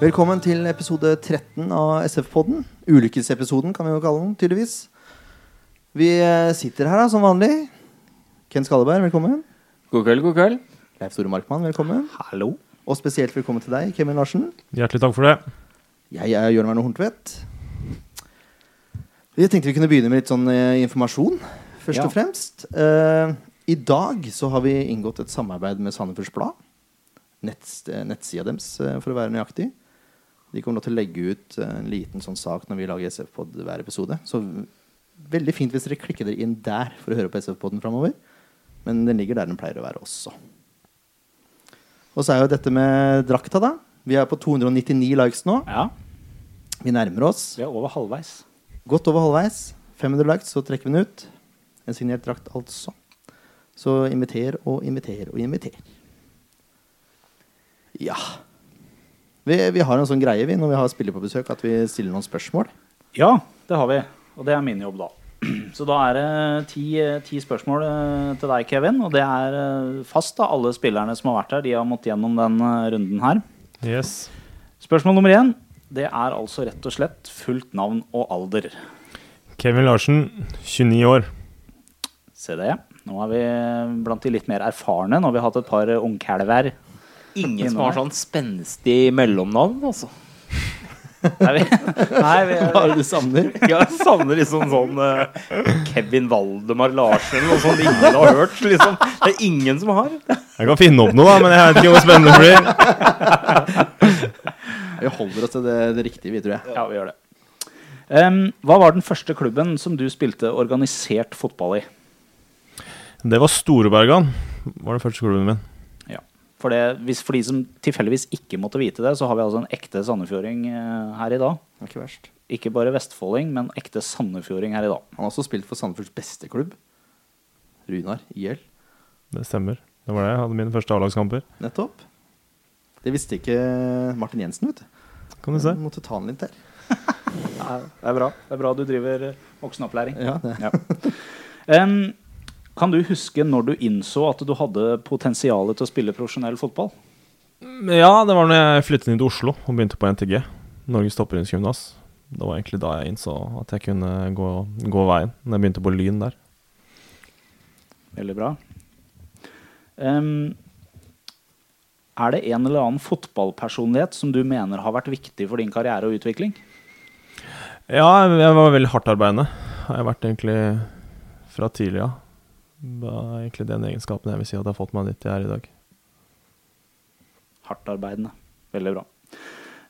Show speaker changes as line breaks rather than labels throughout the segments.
Velkommen til episode 13 av SF-podden. Ulykkesepisoden kan vi jo kalle den, tydeligvis. Vi eh, sitter her da, som vanlig. Ken Skalleberg, velkommen.
God kveld, god kveld.
Leif Store Markmann, velkommen.
Hallo.
Og spesielt velkommen til deg, Kevin Larsen.
Hjertelig takk for det.
Jeg er Jørn Werner Horntvedt. Jeg tenkte vi kunne begynne med litt sånn eh, informasjon, først
Ja.
og fremst. Eh, I dag så har vi inngått et samarbeid med Sandefjords Blad. Netts, eh, nettsida deres, eh, for å være nøyaktig. De kommer nå til å legge ut eh, en liten sånn sak når vi lager SF-pod hver episode. Så veldig fint hvis dere klikker dere inn der for å høre på SF-poden framover. Men den ligger der den pleier å være også. Og så er jo dette med drakta, da. Vi er på 299 likes nå.
Ja,
Vi nærmer oss.
vi er over halvveis.
Godt over halvveis. 500 likes, så trekker vi den ut. En signert drakt, altså. Så inviter og inviter og inviter. Ja. Vi, vi har en sånn greie vi, når vi har spillere på besøk, at vi stiller noen spørsmål.
Ja, det har vi. Og det er min jobb, da. Så da er det ti, ti spørsmål eh, til deg, Kevin. Og det er eh, fast, da. Alle spillerne som har vært her, de har måttet gjennom den eh, runden her.
Yes.
Spørsmål nummer én, det er altså rett og slett fullt navn og alder.
Kevin Larsen, 29 år.
Se det. Nå er vi eh, blant de litt mer erfarne. Nå har vi hatt et par eh, ungkalver.
Ingen som
Innom
har
her.
sånn spenstig mellomnavn, altså.
Nei, vi, nei, vi,
Hva er det du savner?
Jeg savner liksom sånn eh, Kevin Valdemar Larsen eller noe sånt ingen har hørt. liksom. Det er ingen som har.
Jeg kan finne opp noe, da, men jeg vet ikke hvor spennende det blir.
Vi holder oss til det, det riktige, vi, tror jeg.
Ja, vi gjør det. Em, hva var den første klubben som du spilte organisert fotball i?
Det var Storebergan. Var den første klubben min.
Ja. For, det, hvis, for de som tilfeldigvis ikke måtte vite det, så har vi altså en ekte sandefjording eh, her i dag.
Det var Ikke verst.
Ikke bare vestfolding, men ekte sandefjording her i dag.
Han har også spilt for Sandefjords beste klubb, Runar IL,
Det stemmer. Det var det jeg hadde mine første A-lagskamper.
nettopp. Det visste ikke Martin Jensen, vet du.
Kan du se.
Han måtte ta han litt der.
Det er bra. Det er bra du driver eh, voksenopplæring.
Ja, det.
Ja. Em, kan du huske når du innså at du hadde potensialet til å spille profesjonell fotball?
Ja, det var når jeg flyttet inn til Oslo og begynte på NTG. Norges toppidrettsgymnas. Det var egentlig da jeg innså at jeg kunne gå, gå veien. Når jeg begynte på Lyn der.
Veldig bra. Em, er det en eller annen fotballpersonlighet som du mener har vært viktig for din karriere og utvikling?
Ja, jeg var veldig hardtarbeidende. Har jeg vært egentlig fra tidlig av. Det er egentlig den egenskapen jeg vil si at jeg har fått meg dit jeg er i dag.
Hardtarbeidende. Veldig bra.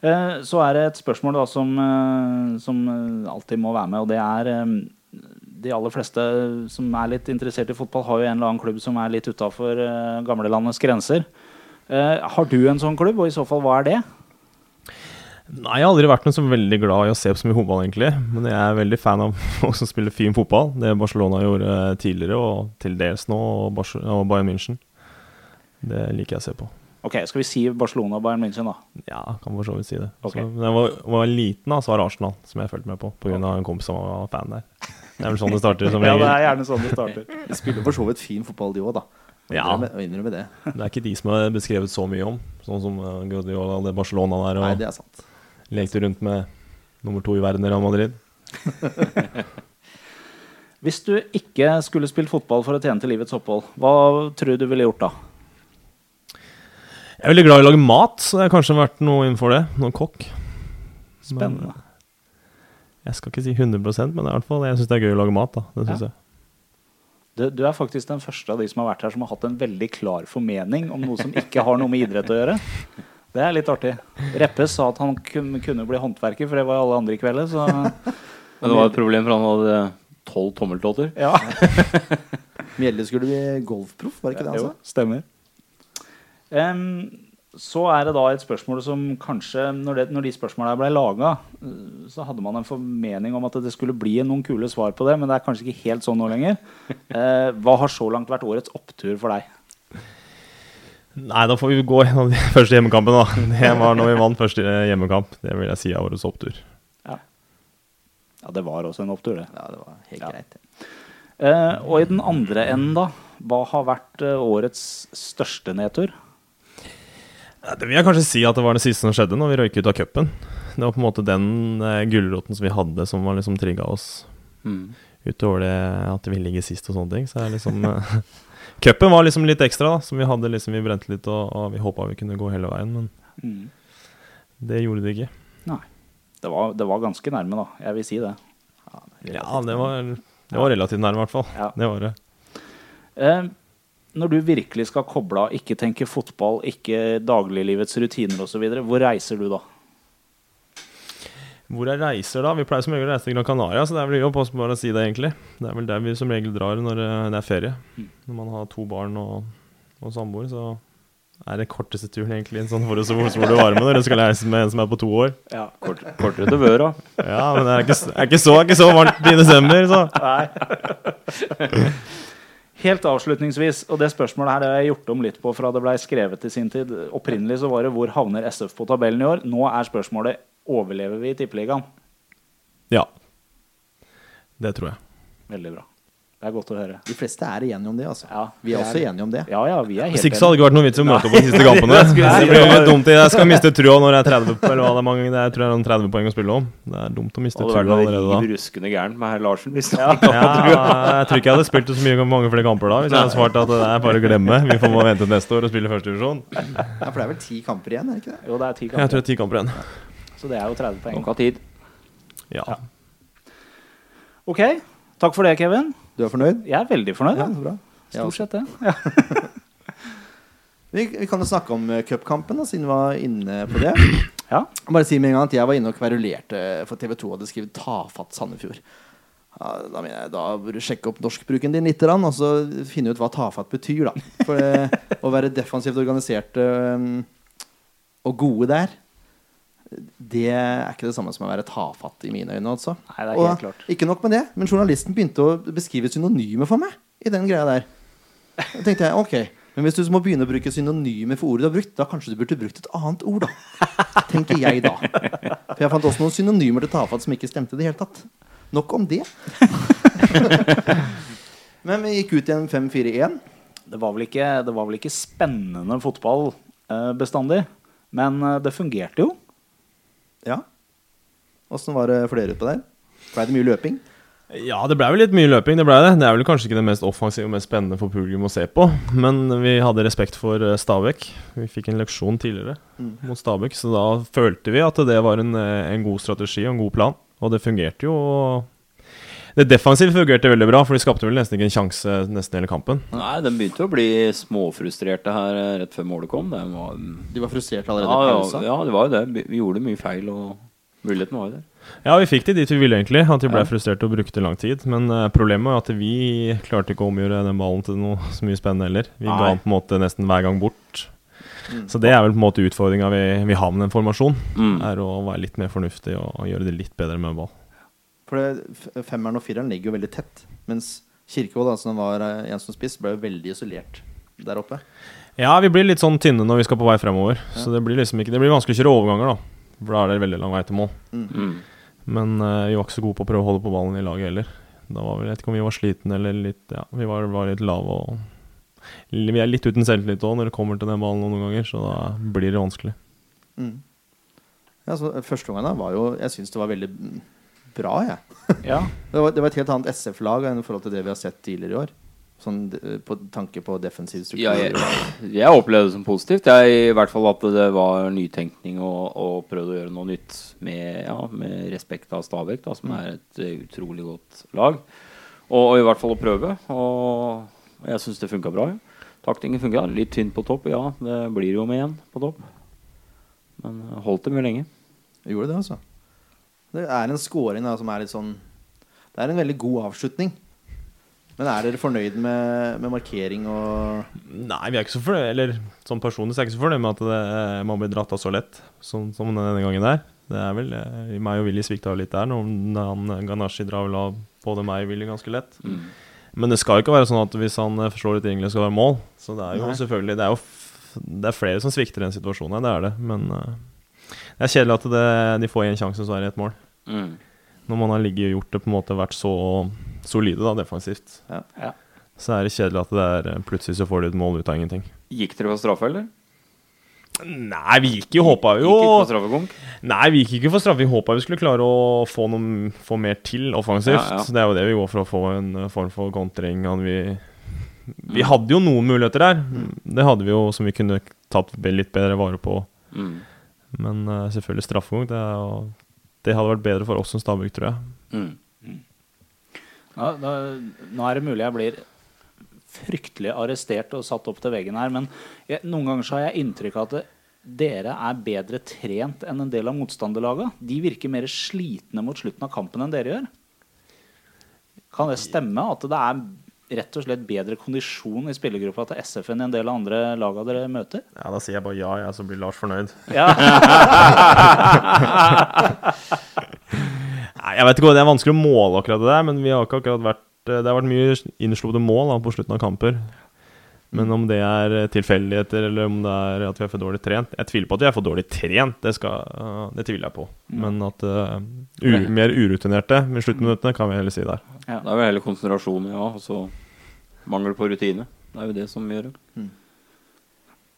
Eh, Så er det et spørsmål da som, eh, som eh, alltid må være med, og det er eh, De aller fleste som er litt interessert i fotball, har jo en eller annen klubb som er litt utafor gamlelandets grenser. Eh, Har du en sånn klubb, og i så fall, hva er det?
Nei, jeg har aldri vært noe så veldig glad i å se på så mye fotball, egentlig. Men jeg er veldig fan av folk som spiller fin fotball. Det Barcelona gjorde tidligere, og til dels nå, og, Barce- og Bayern München. Det liker jeg å se på.
Ok, Skal vi si Barcelona og Bayern München, da?
Ja, kan for så vidt si det.
Ok.
Så, da jeg var, var liten, da, så var det Arsenal som jeg fulgte med på, pga. av en kompis som var fan der. Det er vel sånn det starter, som regel.
er gjerne sånn det starter.
De spiller for så vidt fin fotball, de òg, da.
Ja.
Innrømme- å Innrømme det.
Det er ikke de som er beskrevet så mye om, sånn som eh, Guardiola det Barcelona der, og
Nei, det er sant.
lekte rundt med nummer to i verden i Real Madrid.
Hvis du ikke skulle spilt fotball for å tjene til livets opphold, hva tror du du ville gjort da?
Jeg er veldig glad i å lage mat, så det har kanskje vært noe innenfor det. Noen kokk.
Spennende.
Jeg skal ikke si 100 men det er i hvert fall, jeg syns det er gøy å lage mat. da, det synes
Ja.
jeg.
Du, du er faktisk den første av de som har vært her som har hatt en veldig klar formening om noe som ikke har noe med idrett å gjøre. Det er litt artig. Reppe sa at han kun- kunne bli håndverker, for det var jo alle andre i kveld. Så
Men det var et problem, for han hadde tolv tommeltotter.
ja,
Mjelde skulle bli golfproff, var det altså? ikke det han
jo,
sa?
stemmer. Em, så er det da et spørsmål som kanskje, når, det, når de spørsmålene ble laga, så hadde man en formening om at det skulle bli noen kule svar på det, men det er kanskje ikke helt sånn nå lenger. Eh, hva har så langt vært årets opptur for deg?
Nei, da får vi gå gjennom de første hjemmekampene, da. Det var når vi vant første eh, hjemmekamp. Det vil jeg si er årets opptur.
Ja, det var også en opptur, det.
Ja, det var helt
Ja.
greit.
Eh, og i den andre enden, da. Hva har vært eh, årets største nedtur?
Ja, Det vil jeg kanskje si at det var det siste som skjedde når vi røyk ut av cupen. Det var på en måte den eh, gulroten som vi hadde, som var liksom trigga oss.
Mm.
Utover det at vi ligger sist og sånne ting. Så er liksom eh, Cupen var liksom litt ekstra, da, som vi hadde liksom Vi brente litt, og, og vi håpa vi kunne gå hele veien, men
Mm.
det gjorde det ikke.
Nei. Det var, det var ganske nærme, da. Jeg vil si det.
Ja, det var, det var relativt nærme, i hvert fall.
Ja.
Det var det.
Eh, når du virkelig skal koble av, ikke tenke fotball, ikke dagliglivets rutiner osv., hvor reiser du da?
Hvor jeg reiser da? Vi pleier som regel å reise til Gran Canaria, så det er vel jobb også bare å si det, egentlig. Det er vel der vi som regel drar når eh, det er ferie. Når man har to barn og, og samboer, så er det korteste turen egentlig en sånn for oss hvor hvor du varme når du skal reise med en som er på to år.
Ja, kort.
Kortere til Vøra.
Ja, men det er ikke, s- er ikke, så, er ikke så varmt i desember, så
Helt avslutningsvis, og det spørsmålet her det har jeg gjort om litt på fra det blei skrevet i sin tid. Opprinnelig så var det 'Hvor havner SF på tabellen i år?' Nå er spørsmålet 'Overlever vi i Tippeligaen?'
Ja. Det tror jeg.
Veldig bra. Det er godt å høre.
De fleste er enige om det, altså.
Ja,
vi er også enige om det.
Ja, ja, vi er
Hvis
helt
ikke så hadde det ikke vært noe vits i å møte opp på de siste kampene.
det skulle jeg si.
Det blir jo litt dumt. Jeg skal miste trua når jeg er 30 på- eller hva det er mange det er, jeg tror jeg er noen 30 poeng å spille om. Det er dumt å miste
Hadde
trua
vært noe
allerede da.
riv ruskende gærent med herr Larsen. Hvis det
Ja, jeg tror ikke jeg hadde spilt så mye mange flere kamper da hvis jeg hadde svart at det er bare å glemme. Vi får bare vente til neste år og spille første divisjon.
Ja, for det er vel ti kamper igjen, er det ikke det?
Jo, det er ti
Jeg tror
kamper,
det er ti kamper igjen.
så det er jo 30 poeng.
nok av tid.
Ja.
Ok, takk for det, Kevin.
Du er fornøyd?
Jeg er veldig fornøyd.
Ja,
Ja.
så bra. Jeg
Stort
også.
sett det.
Vi, vi kan jo snakke om eh, cupkampen, da, siden vi var inne på det.
Ja.
Jeg må Bare si med en gang at jeg var inne og kverulerte eh, for TV 2 hadde skrevet 'tafatt Sandefjord'. Ja, da mener jeg, da burde du sjekke opp norskbruken din litt, og så finne ut hva tafatt betyr. da. For eh, å være defensivt organisert eh, og gode der, det er ikke det samme som å være tafatt i mine øyne. altså.
Nei, det er helt
og
klart.
ikke nok med det, men journalisten begynte å beskrive synonymer for meg i den greia der. Da tenkte jeg, ok, men hvis du må begynne å bruke synonymer for ordet du har brukt, da kanskje du burde brukt et annet ord, da. Tenker jeg da. For jeg fant også noen synonymer til tafatt som ikke stemte i det hele tatt. Nok om det. Men vi gikk ut igjen 5-4-1.
Det, var vel ikke, det var vel ikke spennende fotball eh, bestandig, men eh, det fungerte jo.
Ja. Åssen var det for dere ute der? Blei det mye løping?
Ja, det ble vel litt mye løping. Det ble det. Det er vel kanskje ikke det mest offensive og mest spennende for publikum å se på, men vi hadde respekt for eh, Stabæk. Vi fikk en leksjon tidligere mot Stabæk, så da følte vi at det var en, eh, en god strategi og en god plan, og det fungerte jo. Det defensive fungerte veldig bra, for de skapte vel nesten ikke en sjanse nesten hele kampen.
Nei, de begynte å bli småfrustrerte her eh, rett før målet kom. Det var,
De var frustrerte
ja,
allerede i
ja,
pausa.
ja, det var jo det. Vi gjorde mye feil, og muligheten var jo der.
Ja, vi fikk de dit vi ville, egentlig. At vi ble frustrert og brukte lang tid. Men eh, problemet var at vi klarte ikke å omgjøre den ballen til noe så mye spennende heller. Vi
Nei.
ga den på en måte nesten hver gang bort. Så det er vel på en måte utfordringa vi, vi har med den formasjonen. Er å være litt mer fornuftig og, og gjøre det litt bedre med ball.
For det, f- femmeren og fireren ligger jo veldig tett. Mens Kirkevold, da, som var eh, en som spiss, ble jo veldig isolert der oppe.
Ja, vi blir litt sånn tynne når vi skal på vei fremover. Så det blir liksom ikke Det blir vanskelig å kjøre overganger, da. For da er det veldig lang vei til mål.
Mm.
Men eh, vi var ikke så gode på å prøve å holde på ballen i laget heller. Da var vi, jeg vet ikke om vi var slitne eller litt Ja, vi var, var litt lave og Vi er litt uten selvtillit òg når det kommer til den ballen noen ganger, så da blir det vanskelig.
Ja, så eh, Første gangen da var jo Jeg syns det var veldig mm, bra, jeg.
Ja.
Det var, det var et helt annet SF-lag enn i forhold til det vi har sett tidligere i år. Sånn eh, på tanke på defensiv struktur.
Ja, jeg, jeg opplevde det som positivt. Jeg, I hvert fall at det var nytenkning og, og prøvde å gjøre noe nytt med, ja, med respekt av Stabæk, da, som er et eh, utrolig godt lag. Og, og i hvert fall å prøve. Og jeg syns det funka bra. Ja. Taktingen funka. Litt tynn på topp, ja. Det blir jo med igjen på topp. Men eh, holdt det mye lenge.
Jeg gjorde det, altså. Det er en scoring da, som er litt sånn Det er en veldig god avslutning. Men er dere fornøyd med, med markering og
Nei, vi er ikke så fornøyd Eller som personlig så er jeg ikke så fornøyd med at det, eh, man blir dratt av så lett som, som denne gangen der. Det er vel eh, Meg og Willy svikta jo litt der. Når han Ganashi drar vel av både meg og Willy ganske lett. Men det skal jo ikke være sånn at hvis han eh, slår et innlegg, skal det være mål. Så det er jo
Nei.
selvfølgelig Det er jo f det er flere som svikter i den situasjonen her, det er det. Men eh, det er kjedelig at det, de får én sjanse, så er det ett mål. Når man har ligget og gjort det, på en måte vært så solide da, defensivt,
Ja.
Ja.
så er det kjedelig at det er eh, plutselig så får de et mål ut av ingenting.
Gikk dere på straffe, eller?
Nei, vi gikk jo, håpa jo
Gikk ikke på straffekonk.
Nei, vi gikk ikke for straffe. Vi håpa vi skulle klare å få, noen, få mer til offensivt.
Ja, ja.
Så Det er jo det vi går for å få en eh, form for kontring. Han Vi, vi hadde jo noen muligheter der. Det hadde vi jo som vi kunne tatt be- litt bedre vare på.
Mm.
Men eh, selvfølgelig straffekonk. Det, er jo- det hadde vært bedre for oss som Stabæk, tror jeg.
Mm.
Ja, da, nå er det mulig jeg blir fryktelig arrestert og satt opp til veggen her, men jeg, noen ganger så har jeg inntrykk av at det- dere er bedre trent enn en del av motstanderlaga. De virker mer slitne mot slutten av kampen enn dere gjør. Kan det stemme at det er rett og slett bedre kondisjon i spillergruppa til SF enn i en del av andre laga dere møter?
Ja, Da sier jeg bare ja, jeg, så blir Lars fornøyd.
Ja,
Nei, jeg vet ikke, Det er vanskelig å måle akkurat det der, men vi har ikke akkurat vært eh, Det har vært mye innslåtte mål da, på slutten av kamper. Men om det er eh, tilfeldigheter, eller om det er at vi er for dårlig trent Jeg tviler på at vi er for dårlig trent, det, skal, eh, det tviler jeg på. Men at eh, u mer urutinerte med sluttminuttene kan vi heller si der.
ja.
Det er vel hele konsentrasjonen, ja. Og så mangel på rutine. Det er jo det som gjør det.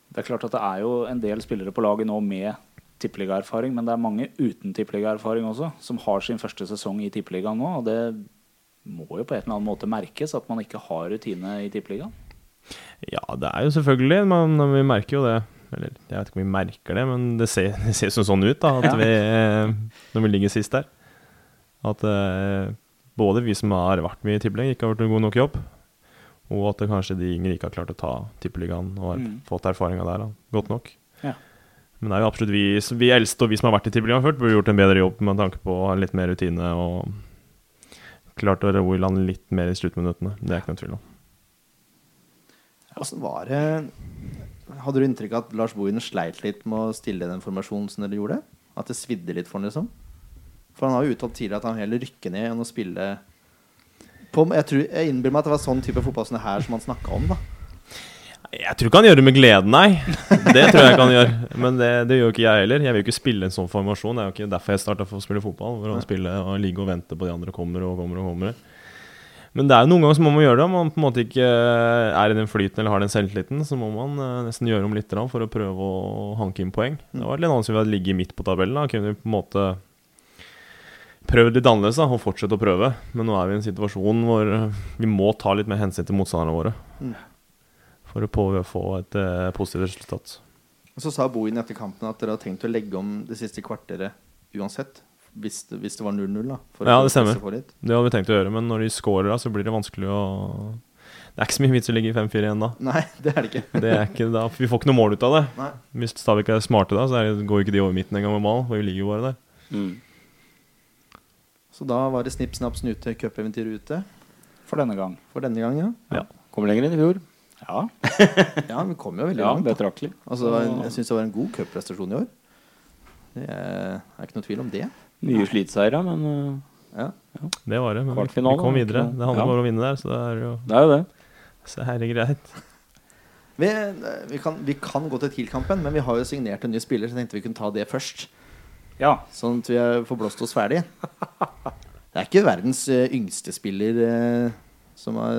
Det er klart at det er jo en del spillere på laget nå med tippeligaerfaring, men det er mange uten tippeligaerfaring også, som har sin første sesong i tippeligaen nå. Og det må jo på en eller annen måte merkes at man ikke har rutine i tippeligaen.
Ja, det er jo selvfølgelig, men vi merker jo det. Eller jeg vet ikke om vi merker det, men det ser, det ser jo sånn ut da, at
Ja.
vi, eh, når vi ligger sist der. At eh, både vi som har vært med i tippeligaen, ikke har gjort en god nok jobb. Og at det kanskje de yngre ikke har klart å ta tippeligaen og har
Mm.
fått erfaringa der da, godt nok.
Ja.
Men det er jo absolutt vi, som- vi eldste og vi som har vært i tippeligaen før, burde gjort en bedre jobb med tanke på å ha litt mer rutine og klart å roe i land litt mer i sluttminuttene. Det er ikke noe tvil om.
Åssen var det Hadde du inntrykk av at Lars Bohinen sleit litt med å stille den formasjonen som dere gjorde? At det svidde litt for han liksom? For han har jo uttalt tidligere at han heller rykker ned enn å spille på, jeg, tror, jeg innbiller meg at det var sånn type fotball som det her som han snakka om, da.
Jeg tror ikke han gjør det med glede, nei. Det tror jeg ikke han gjør. Men det, det gjør jo ikke jeg heller. Jeg vil jo ikke spille en sånn formasjon. Det er jo ikke derfor jeg starta for å spille fotball. Hvor han spiller og ligger og venter på de andre kommer og kommer og kommer. Men det er jo noen ganger så må man gjøre det. Om man på en måte ikke eh, er i den flyten eller har den selvtilliten, så må man eh, nesten gjøre om litt grann for å prøve å hanke inn poeng. Det var litt annet som vi hadde ligget midt på tabellen. Da kunne vi på en måte prøvd litt annerledes da, og fortsette å prøve. Men nå er vi i en situasjon hvor eh, vi må ta litt mer hensyn til motstanderne våre for å prøve å få et eh, positivt resultat.
Og så sa Bohin etter kampen at dere hadde tenkt å legge om det siste kvarteret uansett. Hvis det, hvis det var 0-0, da. for å
Ja, det
presse
stemmer.
på litt.
Det hadde vi tenkt å gjøre, men når de scorer, da, så blir det vanskelig å Det er ikke så mye vits å ligge i 5-4 igjen da.
Nei, det er det ikke.
Det er ikke, da. Vi får ikke noe mål ut av det.
Nei.
Hvis Stabæk er smarte da, så er det, går ikke de over midten engang med mal. for Vi ligger jo bare der.
Mm.
Så da var det snipp, snapp, snute, cupeventyret ute.
For denne gang.
For denne gangen,
Ja.
Kom lenger enn i fjor.
Ja.
ja. Ja, vi kom jo veldig
Ja,
langt. da.
betraktelig.
Altså, det var en, jeg syns det var en god cupprestasjon i år. Det er, er ikke noe tvil om det.
Mye slitseire, men øh,
Ja.
Det var det. Men vi,
Kvartfinale,
vi kom
da.
videre. Det handler
Ja.
bare om å vinne der, så det er jo
det er jo det.
så er det greit.
Vi, vi, kan, vi kan gå til TIL-kampen, men vi har jo signert en ny spiller, så jeg tenkte vi kunne ta det først.
ja.
Sånn at vi har forblåst oss ferdig. Det er ikke verdens eh, yngste spiller eh, som har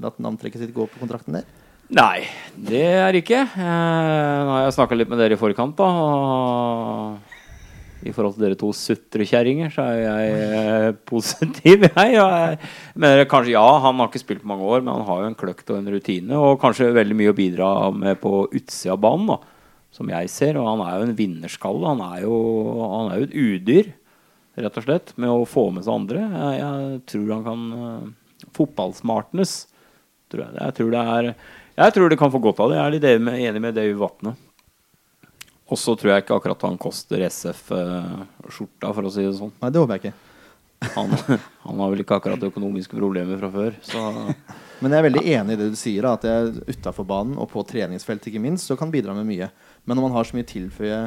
latt navntrekket sitt gå på kontrakten der.
Nei, det er ikke. Eh, Nå har jeg snakka litt med dere i forkant, da. Og i forhold til dere to sutrekjerringer, så er jeg eh, positiv, jeg. Og jeg mener kanskje ja, han har ikke spilt på mange år, men han har jo en kløkt og en rutine. Og kanskje veldig mye å bidra med på utsida av banen, da. Som jeg ser. Og han er jo en vinnerskalle. Han er jo, han er jo et udyr, rett og slett, med å få med seg andre. Jeg, jeg tror han kan eh, fotballsmartnes tror jeg. Jeg tror det er Jeg tror det kan få godt av det. Jeg er litt enig med, enig med Dave Vatne. Og så tror jeg ikke akkurat han koster SF-skjorta, for å si det sånn.
Nei, det håper jeg ikke.
Han, han har vel ikke akkurat økonomiske problemer fra før, så
Men jeg er veldig enig i det du sier, da, at jeg utafor banen og på treningsfeltet ikke minst, så kan bidra med mye. Men når man har så mye å tilføye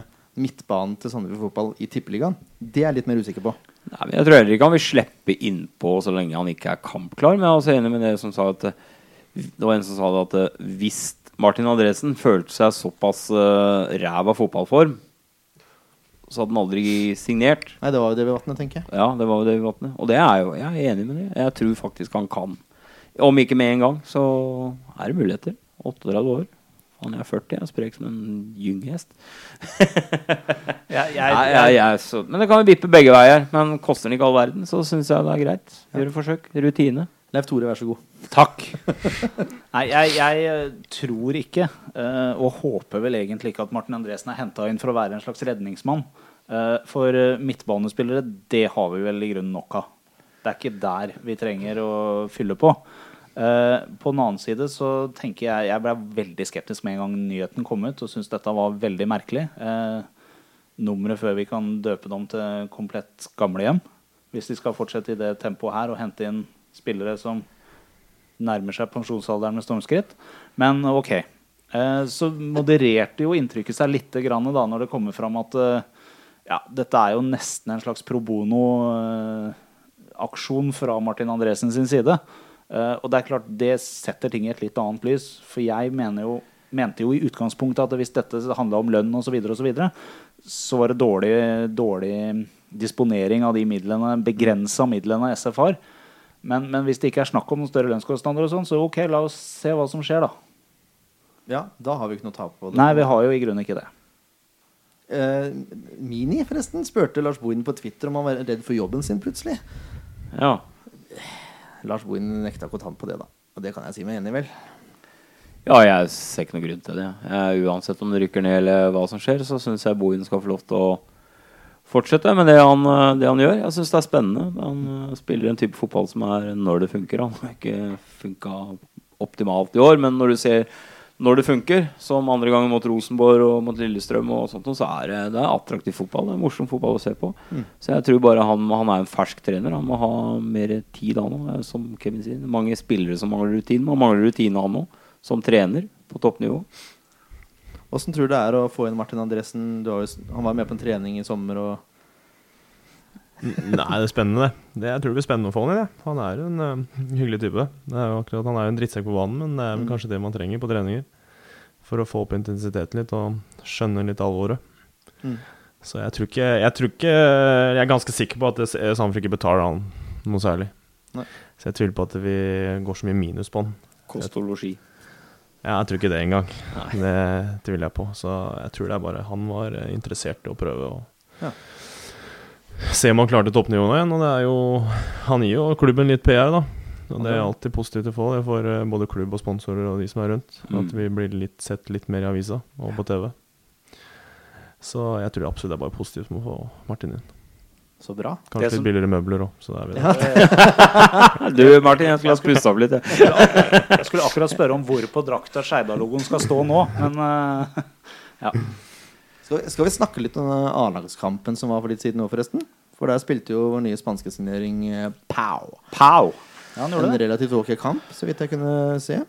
midtbanen til Sandefjord fotball i Tippeligaen, det er jeg litt mer usikker på.
Nei, men Jeg tror heller ikke han vil slippe innpå så lenge han ikke er kampklar. Men jeg er også enig med det som sa at eh, Det var en som sa det at eh, hvis Martin Andresen følte seg såpass eh, ræv av fotballform, så hadde han aldri signert.
Nei, det var jo det vi vatnet, tenker jeg.
Ja, det var jo det vi vatnet. Og det er jo, jeg er enig med det. Jeg tror faktisk han kan. Om ikke med en gang, så er det muligheter. 38 år. Han er 40, jeg er sprek som en gynghest.
Jeg,
Nei, jeg, jeg, er så, men det kan jo vippe begge veier. Men koster den ikke all verden, så syns jeg det er greit. Gjøre forsøk. Rutine.
Leif Tore, vær så god.
Takk.
Nei, jeg, jeg eh, tror ikke, eh, og håper vel egentlig ikke, at Martin Andresen er henta inn for å være en slags redningsmann. Eh, For eh, midtbanespillere, det har vi vel i grunnen nok av. Det er ikke der vi trenger å fylle på. Eh, På den annen side så tenker jeg Jeg ble veldig skeptisk med en gang nyheten kom ut, og syntes dette var veldig merkelig. Eh, Nummeret før vi kan døpe dem til komplett gamlehjem. Hvis de skal fortsette i det tempoet her og hente inn spillere som nærmer seg pensjonsalderen med stormskritt. Men OK. Eh, Så modererte jo inntrykket seg litt grann da, når det kommer fram at eh, ja, dette er jo nesten en slags pro bono-aksjon fra Martin Andresen sin side. Eh, Og det er klart, det setter ting i et litt annet lys. For jeg mener jo, mente jo i utgangspunktet at hvis dette handla om lønn osv., så, videre, så var det dårlig, dårlig disponering av de midlene, begrensa midlene SF har. Men, men hvis det ikke er snakk om noen større lønnskostnader, og sånn, så ok, la oss se hva som skjer, da.
Ja, da har vi ikke noe tap på det.
Nei, vi har jo i grunnen ikke det.
Eh, Mini, forresten, spurte Lars Bohinen på Twitter om han var redd for jobben sin plutselig.
Ja.
Lars Bohinen nekta kontant på det, da. Og det kan jeg si meg enig i, vel.
ja, jeg ser ikke noen grunn til det. Jeg, uansett om det rykker ned eller hva som skjer, så syns jeg Bohin skal få lov til å fortsette med det han, eh, det han gjør. Jeg syns det er spennende. Han eh, spiller en type fotball som er når det funker. Han har ikke funka optimalt i år, men når du ser når det funker, som andre ganger mot Rosenborg og mot Lillestrøm, og sånt, noe, så er det, det er attraktiv fotball. Det er morsom fotball å se på. Så jeg tror bare han, han er en fersk trener. Han må ha mer tid, han òg, som Kevin sier. Mange spillere som mangler rutine. Man mangler rutine, han òg, som trener på toppnivå.
Åssen tror du det er å få inn Martin Andresen? Du har jo, s- han var med på en trening i sommer og
Nei, det er spennende, det. det jeg tror det blir spennende å få han i det. Han er jo en eh, hyggelig type. Det er jo akkurat, han er jo en drittsekk på banen, men det er
Mm.
vel kanskje det man trenger på treninger. For å få opp intensiteten litt og skjønne litt alvoret.
Mm.
Så jeg tror ikke Jeg tror ikke Jeg er ganske sikker på at det- Sandefjord ikke betaler han noe særlig.
Nei.
Så jeg tviler på at vi går så mye minus på han.
Kost og losji.
Ja, jeg tror ikke det engang. Det tviler jeg på. Så jeg tror det er bare han var eh, interessert i å prøve å
Ja.
se om han klarte toppnivået igjen. Og det er jo Han gir jo klubben litt PR, da. Og det er alltid positivt å få det for eh, både klubb og sponsorer og de som er rundt.
Mm.
At vi blir litt, sett litt mer i avisa og på TV. Så jeg tror absolutt det er bare positivt med å få Martin inn.
Så bra.
Kanskje
som-
litt billigere møbler òg, så det er vi der.
Du, Martin, jeg skulle ha pusta opp litt. jeg.
Jeg skulle akkurat spørre om hvor på drakta Skeidar-logoen skal stå nå, men eh, ja.
Skal, vi- skal vi snakke litt om eh, A-lagskampen som var for litt siden nå, forresten? For der spilte jo vår nye spanske signering eh, Pau.
Pow! Ja, han
En
gjorde det.
relativt ok kamp, så vidt jeg kunne se.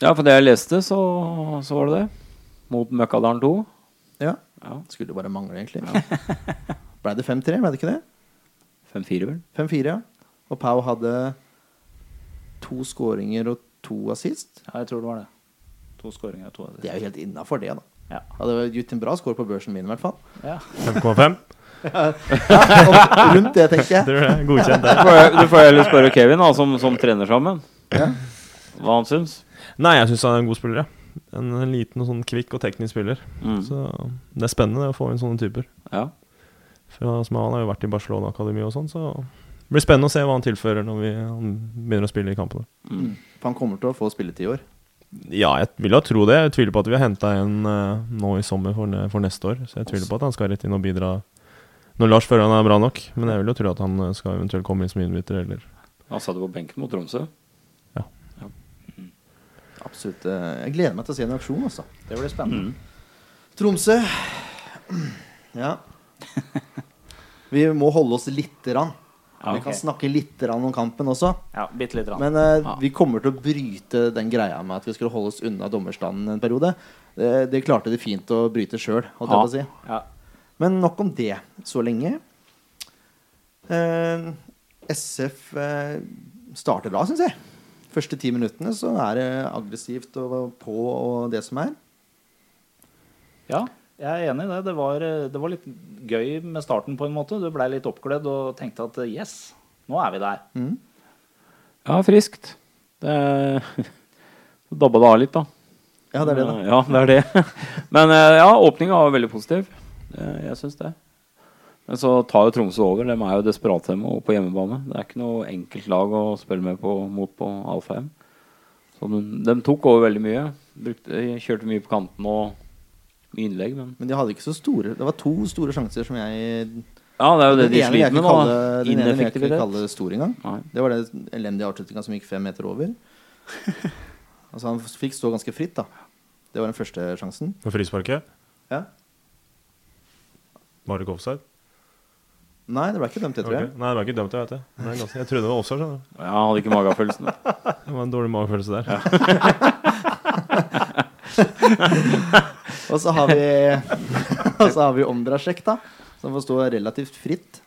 Ja, for det jeg leste, så, så var det det. Mot Møkkadalen 2.
Ja.
Ja.
Skulle jo bare mangle, egentlig. Ble det 5-3, ble det ikke det?
5-4, vel.
5-4, ja. Og Pau hadde to skåringer og to assist.
Ja, jeg tror det var det. To skåringer og to
Det
assist.
er jo helt innafor det, da.
Ja.
Hadde gitt en bra score på børsen min, i hvert fall.
5,5?
Rundt det, tenker jeg.
Tror du det? Godkjent der.
Du får, du får heller spørre Kevin, da, som, som trener sammen, hva han syns.
Nei, jeg syns han er en god spiller, ja. En liten og sånn kvikk og teknisk spiller.
Mm.
Så det er spennende det, å få inn sånne typer.
Ja.
For han- som han har jo vært i Barcelona Akademi og sånn, så det blir spennende å se hva han tilfører når vi, han begynner å spille i kampene.
For han kommer til å få spilletid i år.
Ja, jeg vil jo tro det. Jeg tviler på at vi har henta en eh, nå i sommer for, ne- for neste år. Så jeg tviler på at han skal rett inn og bidra når Lars føler han er bra nok. Men jeg vil jo tro at han eh, skal eventuelt komme inn som innbytter, eller
Han satt jo på benken mot Tromsø.
Absolutt. eh, Jeg gleder meg til å se en aksjon, altså.
Det blir spennende.
Tromsø. Ja. Vi må holde oss lite grann.
Ja,
Vi kan
ok.
snakke lite grann om kampen også.
Ja, bitte lite grann.
Men eh,
Ja.
vi kommer til å bryte den greia med at vi skulle holde oss unna dommerstanden en periode. Eh, det klarte de fint å bryte sjøl, holdt jeg på å si.
Ja.
Men nok om det så lenge. Eh, SF eh, starter bra, syns jeg. Første ti minuttene så er det aggressivt og på og det som er.
Ja, jeg er enig i det. Det var, eh, det var litt gøy med starten, på en måte. Du blei litt oppglødd og tenkte at eh, yes, nå er vi der.
Mm.
Ja, friskt. Det Så dabba det av litt, da.
Ja, det er det, da.
Eh, Ja, det er det. Men eh, ja, åpninga var veldig positiv. Eh, Jeg syns det. Men så tar jo Tromsø over. De er jo desperate dem, og på hjemmebane. Det er ikke noe enkelt lag å spille med på, mot på Alfheim. Så de, de tok over veldig mye. Brukte, kjørte mye på kanten og mye innlegg, men
Men de hadde ikke så store Det var to store sjanser som jeg
Ja, det er jo det
Den
de
ene vil jeg
sliter
ikke
med nå.
kalle,
da.
den ene vil jeg ikke
Ineffektivitet.
kalle stor engang.
Nei.
Det var den elendige avslutninga som gikk fem meter over. altså Han fikk stå ganske fritt, da. Det var den første sjansen.
Med frisparket?
Ja.
Var det ikke offside?
Nei, det ble ikke dømt, det, tror
Ok.
jeg.
Nei, det var ikke dømt, jeg vet det. Det er ganske- Jeg trodde det var offside. skjønner du.
Ja, jeg hadde ikke magefølelsen.
Det var en dårlig magefølelse der.
Og så har vi, og så har vi Omdrasjek, da. Som får stå relativt fritt.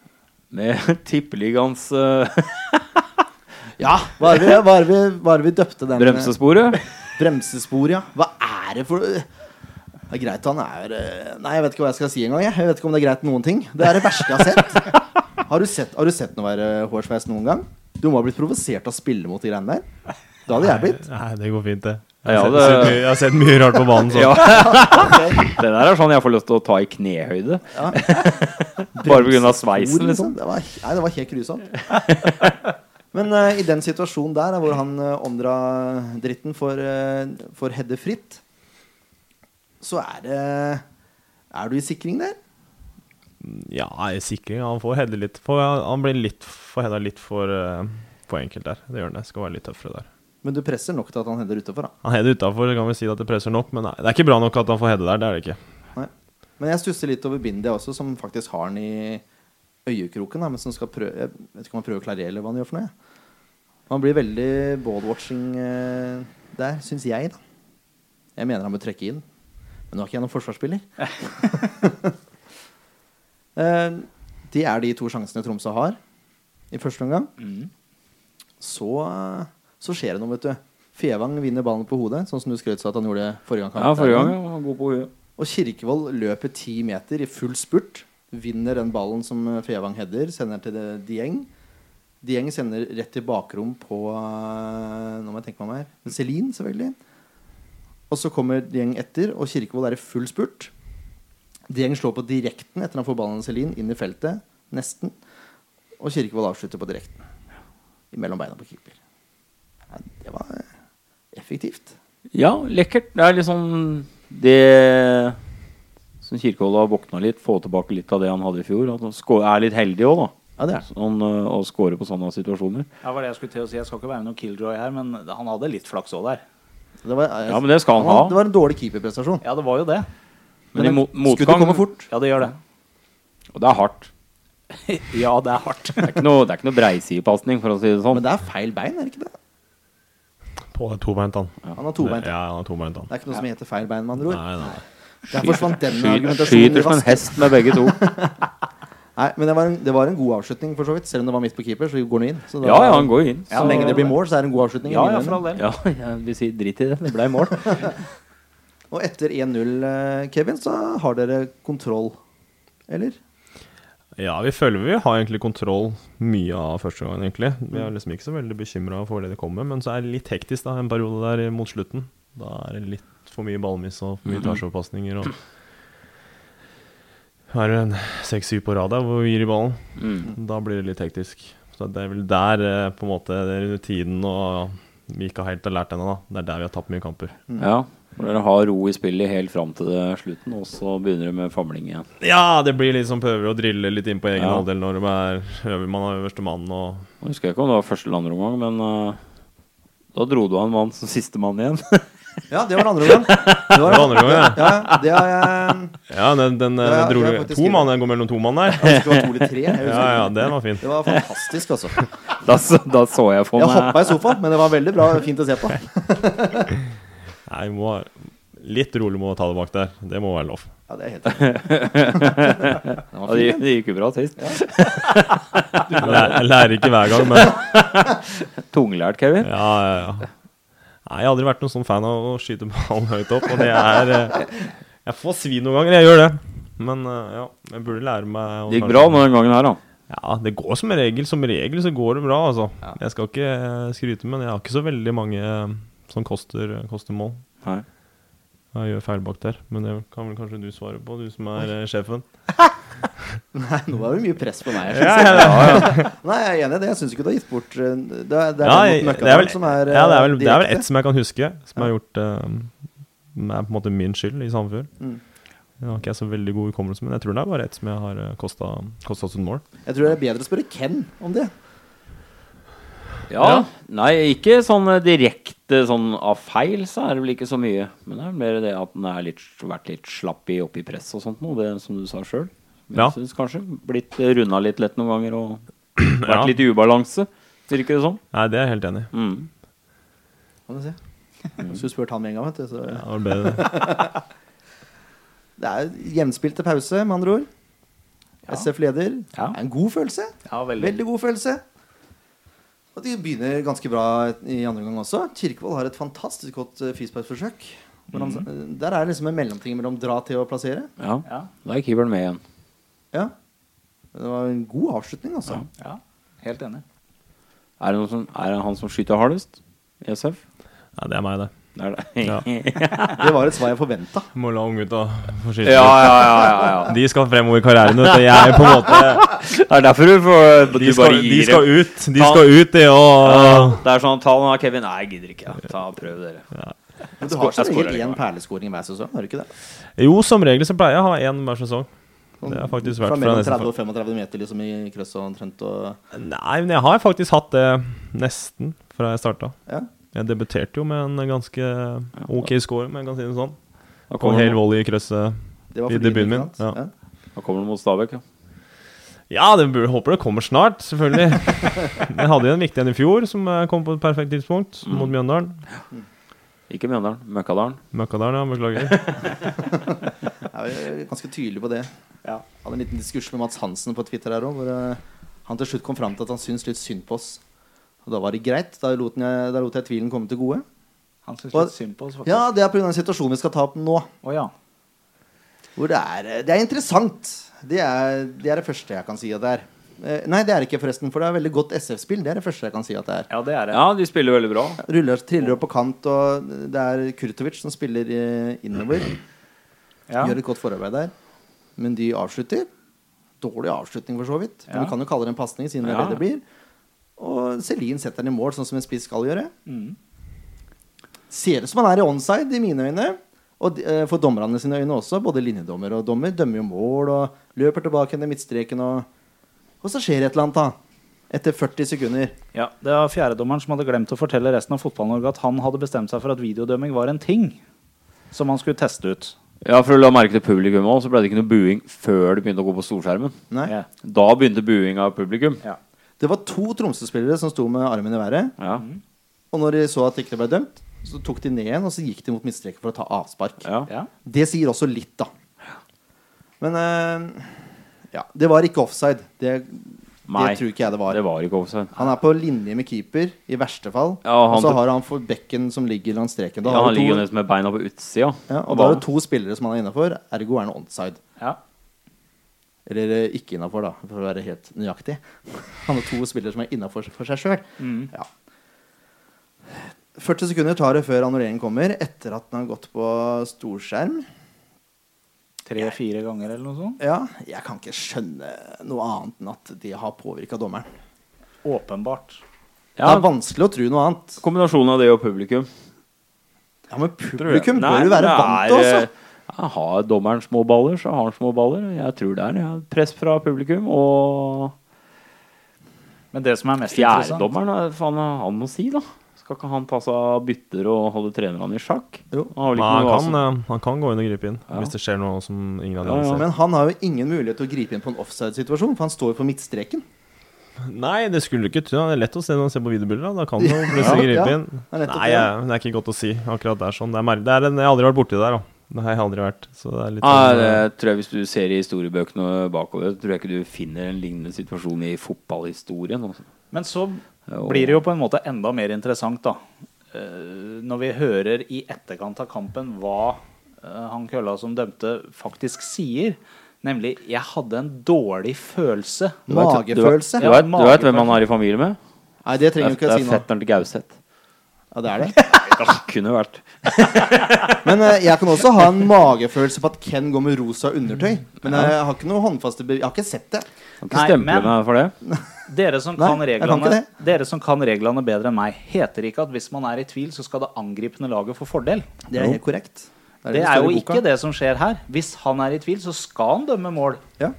Med tippeligaens eh,
Ja! eh, Hva er det vi, hva er det vi, hva er det vi døpte den
bremsesporet.
Bremsespor, ja. Hva er det for Det er greit han er eh, Nei, jeg vet ikke hva jeg skal si engang. Jeg. jeg vet ikke om det er greit noen ting. Det er det verste jeg har sett. Har du sett, har du sett noe være hårsveis noen gang? Du må ha blitt provosert av å spille mot de greiene der. Det hadde jeg blitt.
Nei, det går fint, det. Jeg
Ja,
har,
det-
sett, sett mye, jeg har sett mye rart på banen. Så.
Ja.
Ok.
Det der er sånn jeg får lyst til å ta i knehøyde.
Ja.
Bare pga. sveisen,
Hvor,
liksom.
Det var, nei, det var helt grusomt. Men eh, i den situasjonen der, hvor han uh, omdra dritten for, uh, for Hedde fritt, så er det Er du i sikring der?
Ja, jeg er sikker. Han får heade litt for, Han blir litt for heada litt for, eh, for enkelt der. Det gjør han det. Skal være litt tøffere der.
Men du presser nok til at han header utafor, da.
Han header utafor, kan vi si at det presser nok, men nei, det er ikke bra nok at han får heade der. Det er det ikke.
Nei. Men jeg stusser litt over Bindi også, som faktisk har den i øyekroken. Da, men som skal prøve Jeg vet ikke om han prøver å klarere eller hva han gjør for noe. jeg. Han blir veldig ball-watching eh, der, syns jeg, da. Jeg mener han bør trekke inn. Men nå er ikke jeg noen forsvarsspiller. Eh, det er de to sjansene Tromsø har i første omgang. Så, eh, så skjer det noe, vet du. Fevang vinner ballen på hodet, sånn som du skrøt av at han gjorde forrige gang.
Ja, forrige gang. ja, han var God på huet.
Og Kirkevold løper ti meter i full spurt. Vinner den ballen som eh, Fevang header, sender til det- Dieng. Dieng sender rett til bakrom på eh, Nå må jeg tenke meg om her. Celine, selvfølgelig. Og så kommer Dieng etter, og Kirkevold er i full spurt. Dieng slår på direkten etter han får ballen av Celine, inn i feltet. Nesten. Og Kirkevold avslutter på direkten. Mellom beina på keeper. Nei, det var eh, effektivt.
Ja, lekkert. Det er liksom det som Kirkehold har våkna litt. Få tilbake litt av det han hadde i fjor. At han sko- er litt heldig òg, da.
Ja, det er det.
Sånn, øh, å score på sånne situasjoner.
Ja, var det jeg skulle til å si. Jeg skal ikke være noen killjoy her, men han hadde litt flaks òg der.
Det var,
Ja, men det skal han
var-
ha.
Det var en dårlig keeperprestasjon.
Ja, det var jo det.
Men i
Men
mo-
Skuddet
motgang
kommer fort.
Ja, det gjør det.
Og det er hardt.
ja, det er hardt.
Det er ikke noe, det er ikke noe breisidepasning, for å si det sånn.
Men det er feil bein, er det ikke det?
På det er tobeint, han.
Han har tobeint.
Ja, han er tobeint, han.
Det er ikke noe som heter feil bein, med andre ord.
Nei, nei.
Der forsvant den
Skyter,
argumentasjonen. i
skyter som en
vasken.
hest med begge to.
Nei, men det var, en, det var en god avslutning, for så vidt. Selv om det var midt på keeper, så går den inn. Så, da-
Ja, ja, han går inn.
så lenge det blir mål, så er det en god avslutning. i
Ja,
mine
ja,
øyne.
for all del.
Ja, jeg vil si drit i det. Det ble mål.
Og etter 1-0, eh, Kevin, så har dere kontroll. Eller?
Ja, vi føler vi har egentlig kontroll mye av første gangen, egentlig. Vi er liksom ikke så veldig bekymra for det det kommer, men så er det litt hektisk da, en periode der mot slutten. Da er det litt for mye ballmiss og for mye tversoverpasninger og Er det en seks-syv på rad der hvor vi gir i ballen? Da blir det litt hektisk. Så det er vel der eh, på en måte det er rutinen og vi ikke helt har lært ennå, da. Det er der vi har tapt mye kamper.
Ja. For dere har ro i spillet helt fram til det slutten, og så begynner dere med famling igjen.
Ja, det blir liksom prøver å drille litt inn på egen
Ja.
halvdel når de er øver- man er øverste mann og
Nå husker jeg ikke om det var første eller andre omgang, men øh, da dro du av en mann som sistemann igjen.
Ja, det var andre gang. Det
Det var andre gangen, ja.
Ja, ja, det har jeg
Ja, den, den,
Ja,
den dro
det er
du-
faktisk
To
skrivet.
mann, den går mellom to mann der.
jeg husker det var to eller tre. Jeg husker
Ja, ja,
ikke.
den var fin.
Det var fantastisk, altså.
Da, så- da så jeg for
Jeg
eh,
meg
hoppa i sofaen, men det var veldig bra fint å se på.
Nei, vi må litt rolig med å ta det bak der. Det må være lov.
Ja, det er helt enig. Den
ja,
var fin,
det,
den.
det gikk jo bra sist.
Jeg lærer, jeg lærer ikke hver gang, men ja,
Tunglært, Kevin.
ja, ja. Nei, jeg har aldri vært noen sånn fan av å skyte ballen høyt opp, og det er eh, Jeg får svi noen ganger, jeg gjør det. Men eh, ja, jeg burde lære meg å
Det gikk
kanskje-
bra nå den gangen her, da.
Ja, det går som regel. Som regel så går det bra, altså. Jeg skal ikke eh, skryte, men jeg har ikke så veldig mange eh, som koster, koster mål.
Nei.
Jeg gjør feil bak der, men det kan vel kanskje du svare på, du som er eh, sjefen.
Nei, nå var det mye press på meg.
Ja,
Nei, jeg er enig i det. Jeg syns ikke du har gitt bort eh, Det er, det er
Ja,
den
jeg-
mot
det er vel-
Møkkadal som er eh,
Ja, det er vel, det er vel
direkte.
ett som jeg kan huske, som jeg har gjort eh, er på en måte min skyld i Sandefjord.
Mm.
Jeg har ikke jeg så veldig god hukommelse, men jeg tror det er bare ett som jeg har eh, kosta kosta oss et mål.
Jeg tror det er bedre å spørre Ken om det.
Ja,
Ja.
Nei, ikke sånn eh, direkte sånn av feil, så er det vel ikke så mye. Men det er mer det at den har vært litt slapp i oppi press og sånt noe, det som du sa sjøl.
Ja.
Jeg synes kanskje. Blitt eh, runda litt lett noen ganger og vært
Ja.
litt i ubalanse, virker det som.
Nei, det er jeg helt enig i.
Mm.
Kan du si. Skulle spurt han med en gang, vet du. Så.
Mm. Ja, det var bedre det.
Det er jevnspilt til pause, med andre ord. SF leder.
Ja.
Det er en god følelse.
Ja, veldig.
Veldig god følelse. Og de begynner ganske bra i andre omgang også. Kirkevold har et fantastisk godt eh, frisparkforsøk. hvor
Mm.
han- Der er det liksom en mellomting mellom dra til og plassere.
Ja.
Ja.
Da er keeperen med igjen.
Ja. Det var en god avslutning, altså.
ja. Helt enig.
Er det, noen som, er det han som skyter hardest i SF?
Nei, det er meg, det.
Det er det.
Ja.
Det var et svar jeg forventa.
Må la unggutta få
Ja,
skyte.
ja, ja, ja, ja.
De skal fremover i karrieren, vet du. Jeg er på en måte
Det er derfor du, får, du
De
bare
skal,
gir
de skal
det.
ut, de skal ut, de, og
Det er sånn tallene av Kevin Nei, jeg gidder ikke. Ja. Ta Prøv dere.
Men du har
Jeg
som
skårer
regel
ikke,
én
nei.
perleskåring hver sesong, har du ikke det?
Jo, som regel så pleier jeg å ha én hver sesong. Det har faktisk vært
fra
fra
mellom
nesten
30 og 35 meter liksom i krøss og omtrent og
Nei, men jeg har faktisk hatt det nesten fra jeg starta.
Ja.
Jeg debuterte jo med en ganske ok score, om jeg kan si det sånn.
Da
På en
kommer,
hel
han-
volley i krøsset.
Det var
I
fordi,
debuten min,
ikke sant?
ja.
da kommer han mot Stabæk, ja.
Ja, det bur- håper det kommer snart, selvfølgelig. Jeg hadde jo en viktig en i fjor som eh, kom på et perfekt tidspunkt,
Mm.
mot Mjøndalen.
Ikke Mjøndalen. Møkkadalen.
Møkkadalen, ja, beklager.
Jeg er ganske tydelig på det.
Ja.
Hadde en liten diskurs med Mats Hansen på Twitter her òg, hvor eh, han til slutt kom fram til at han syntes litt synd på oss. Og da var det greit. Da lot jeg, da lot jeg tvilen komme til gode.
Han syns
Og-
litt synd på oss, faktisk.
Ja, det er pga. situasjonen vi skal ta opp nå.
Å ja.
Hvor det er eh, Det er interessant. Det er det, er det første jeg kan si at det er. Eh, Nei, det er det ikke, forresten, for det er veldig godt SF-spill. Det er det første jeg kan si at det er.
Ja, det er det.
Ja, de spiller veldig bra.
Ruller, triller opp på kant, og det er Kurtovic som spiller eh, innover.
Ja.
Gjør et godt forarbeid der. Men de avslutter. Dårlig avslutning, for så vidt. Men
Ja.
vi kan jo kalle det en pasning, siden det
Ja.
er det det blir. Og Celine setter den i mål, sånn som en spiss skal gjøre.
Mm.
Ser ut som han er i onside, i mine øyne. Og de- eh, for dommerne sine øyne også. Både linjedommer og dommer dømmer jo mål og løper tilbake til midtstreken og Og så skjer et eller annet, da. Etter 40 sekunder.
Ja, Det var fjerdedommeren som hadde glemt å fortelle resten av Fotball-Norge at han hadde bestemt seg for at videodømming var en ting som han skulle teste ut.
Ja, for å la merke til publikum òg, så ble det ikke noe buing før det begynte å gå på storskjermen.
Nei.
Ja.
Da begynte buing av publikum.
Ja.
Det var to Tromsø-spillere som sto med armen i været.
Ja.
Og når de så at det ikke ble dømt, så tok de ned igjen og så gikk de mot midtstreken for å ta avspark.
ja.
Ja.
Det sier også litt, da. Men eh, ja, det var ikke offside. Det, det
Nei,
tror ikke jeg det var.
det var ikke offside.
Han er på linje med keeper, i verste fall.
Ja, han
og så
tok-
har han for bekken som ligger langs streken. Da
Ja,
har
han
du
ligger jo
to,
nesten med beina på utsida.
ja, og da har du to spillere som han er innafor, ergo er han onside.
Ja.
Eller eh, ikke innafor, da, for å være helt nøyaktig. Han har to spillere som er innafor for seg sjøl.
Mm.
Ja. 40 sekunder tar det før annulleringen kommer, etter at den har gått på storskjerm.
Tre-fire ganger eller noe sånt.
Ja, jeg kan ikke skjønne noe annet enn at de har påvirka dommeren.
Åpenbart.
Det
Ja,
er vanskelig å tro noe annet.
kombinasjonen av det og publikum.
Ja, Men publikum
Nei,
bør jo være
det
vant altså. til
er,
også.
eh, ja, Har dommeren små baller, så har han små baller. Jeg tror det er ja. press fra publikum. Og
Men det som er mest interessant
fjerdedommeren, eh, faen, han må si, da. Skal ikke han ta seg av bytter og holde trenerne i sjakk?
Jo.
Han har vel ikke
Men han
noe
kan,
å-
eh, han kan gå inn og gripe inn
Ja.
hvis det skjer noe som ingen hadde
Ja, ja.
ansett.
Men han har jo ingen mulighet til å gripe inn på en offside-situasjon, for han står jo på midtstreken.
Nei, det skulle du ikke tro. Det er lett å se når man ser på videobilder. Da, da kan du jo plutselig
Ja,
gripe
ja.
inn.
Det er nettopp
Nei, jeg, det er ikke godt å si akkurat der sånn. Det er mer, det er en, jeg har aldri vært borti der, da. Det har jeg aldri vært. Så det er litt
Nei,
sånn,
Ah, det
eh,
tror jeg Hvis du ser i historiebøkene bakover, tror jeg ikke du finner en lignende situasjon i fotballhistorien. altså.
Men så
Og-
blir det jo på en måte enda mer interessant, da. Eh, Når vi hører i etterkant av kampen hva eh, han kølla som dømte, faktisk sier. Nemlig 'jeg hadde en dårlig følelse'.
Du vet- du vet-
Magefølelse.
Du vet, du vet hvem
Magefølelse.
han er i familie med?
Nei, det
Det er,
trenger jo ikke
det
å
er
si noe.
fetteren til Gauseth.
Ja, det er det.
Ja, kunne vært.
Men eh, jeg kan også ha en magefølelse på at Ken går med rosa undertøy. Men eh, jeg har ikke noe håndfaste bevis. Jeg har ikke sett det.
Kan ikke
Nei,
stemple
men-
meg for det.
Dere som,
Nei,
kan
jeg kan ikke
reglene, dere som kan reglene bedre enn meg, heter ikke at hvis man er i tvil, så skal det angripende laget få fordel.
Det er helt korrekt.
Det er jo ikke det som skjer her. Hvis han er i tvil, så skal han dømme mål.
Ja.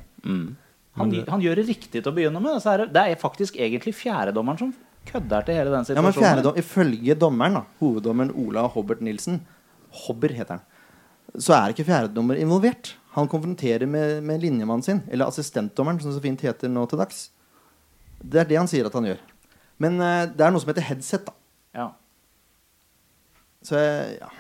Han, han gjør det riktig til å begynne med. Så er det, det er faktisk egentlig fjerdedommeren som kødder til hele den
Ja, men
situasjonen.
fjerde dom, Ifølge dommeren, da, hoveddommeren Ola Hobbert Nilsen, Hobber heter han, så er ikke fjerdedommer involvert. Han konfronterer med, med linjemannen sin, eller assistentdommeren, som det så fint heter nå til dags. Det er det han sier at han gjør. Men eh, det er noe som heter headset, da.
Ja.
Så eh, ja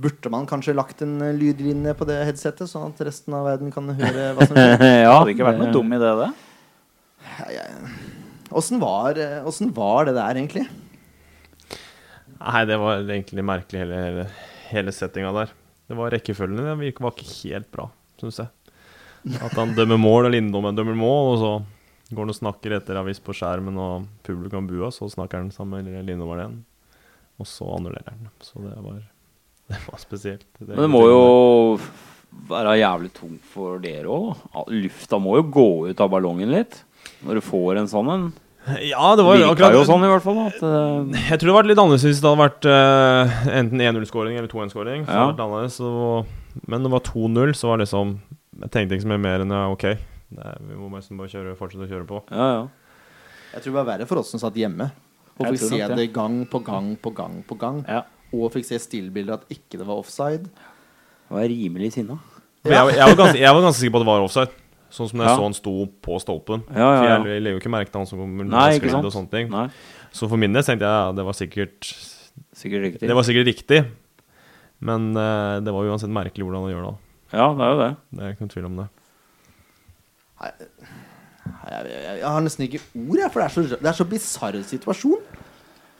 Burde man kanskje lagt en eh, lydlinje på det headsetet, sånn at resten av verden kan høre hva som skjer?
ja,
Hadde ikke vært noe dum idé, det.
Åssen var, eh, hvordan var det der, egentlig?
eh, Nei, det var egentlig merkelig, hele, hele, hele settinga der. Det var rekkefølgen den virk- var ikke helt bra, syns jeg. At han dømmer mål, og Lindholmen dømmer mål, og så går han og snakker etter avis på skjermen, og publikum bua, så snakker han sammen med Lindholmen igjen. Og så annullerer han. Så det var, det var spesielt.
Men det må jo være jævlig tungt for dere òg. Lufta må jo gå ut av ballongen litt. Når du får en sånn en.
Ja, det
Det
var
virka
akkurat
jo sånn, i hvert fall. At, eh,
Jeg tror det hadde vært litt annerledes hvis det hadde vært eh, enten 1-0-skåring eller 2-1-skåring.
Ja.
Men det var 2-0, så var det liksom Jeg tenkte ikke så mye mer enn ja, OK. Det er, vi må nesten bare kjøre, fortsette å kjøre på.
ja, ja.
Jeg tror det var verre for oss som satt hjemme. Og
Jeg
fikk
tror
se
nok
det.
det.
gang på gang på gang på gang.
Ja.
Og fikk se stillbilder at ikke det var offside.
Jeg var rimelig sinna.
For jeg, jeg, var ganske, jeg var ganske sikker på at det var offside. Sånn som da jeg
Ja.
så han sto på stolpen.
Ja, ja, ja.
For jeg legger jo ikke merke til han som kommer
Nei, ikke
sklidd
sant.
og sånne ting.
Nei,
Så for min del tenkte jeg ja, det var sikkert
sikkert riktig.
Det var sikkert riktig. Men eh, det var uansett merkelig hvordan han gjør det.
Ja, det er jo det.
Det er ikke noen tvil om det.
Nei, Jeg, jeg, jeg har nesten ikke ord, jeg, for det er så, det er så bisarr situasjon.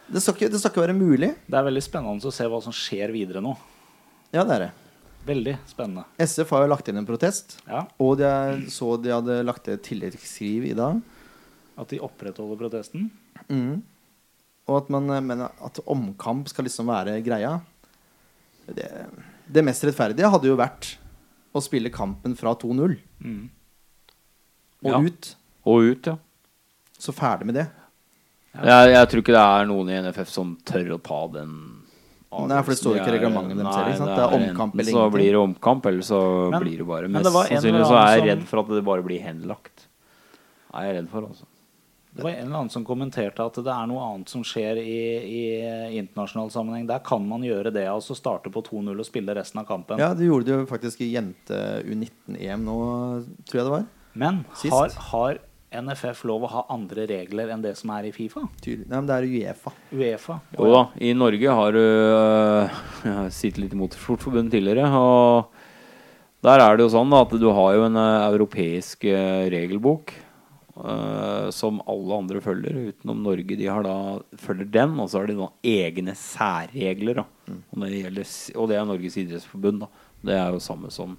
Det skal, ikke, det skal ikke være mulig.
Det er veldig spennende å se hva som skjer videre nå.
Ja, det er det.
Veldig spennende.
SF har jo lagt inn en protest.
Ja,
Og de er- så de hadde lagt til et tilleggsskriv i dag.
At de opprettholder protesten.
Mhm. Og at man eh, mener at omkamp skal liksom være greia. Det, det mest rettferdige hadde jo vært å spille kampen fra 2-0
Mm.
og
Ja.
ut.
Og ut, ja.
Så ferdig med det.
Jeg, jeg tror ikke det er noen i NFF som tør å ta den avgjørelsen.
Nei, for det står jo ikke i
er-
reglementet deres heller, ikke sant? Det er omkamp eller
Enten så
ingenting.
blir det omkamp, eller så
Men-
blir det bare
men
Mest
det var en eller
sannsynlig så er jeg
annen
redd for at det bare blir henlagt. Er jeg redd for, altså.
Det var en eller annen som kommenterte at det er noe annet som skjer i, i internasjonal sammenheng. Der kan man gjøre det, altså starte på 2-0 og spille resten av kampen.
Ja, det gjorde det jo faktisk i jente U19-EM nå, tror jeg det var.
Men
Sist.
har, har NFF lov å ha andre regler enn det som er i Fifa?
Tydelig. Nei, men det er Uefa.
Uefa?
Jo da, i Norge har du øh, Jeg har sittet litt i Motorsportforbundet tidligere, og der er det jo sånn da, at du har jo en øh, europeisk øh, regelbok øh, som alle andre følger, utenom Norge. De har da, følger den, og så har de noen egne særregler. Da. Og, det gjelder, s- og det er Norges idrettsforbund. Da. Det er jo samme som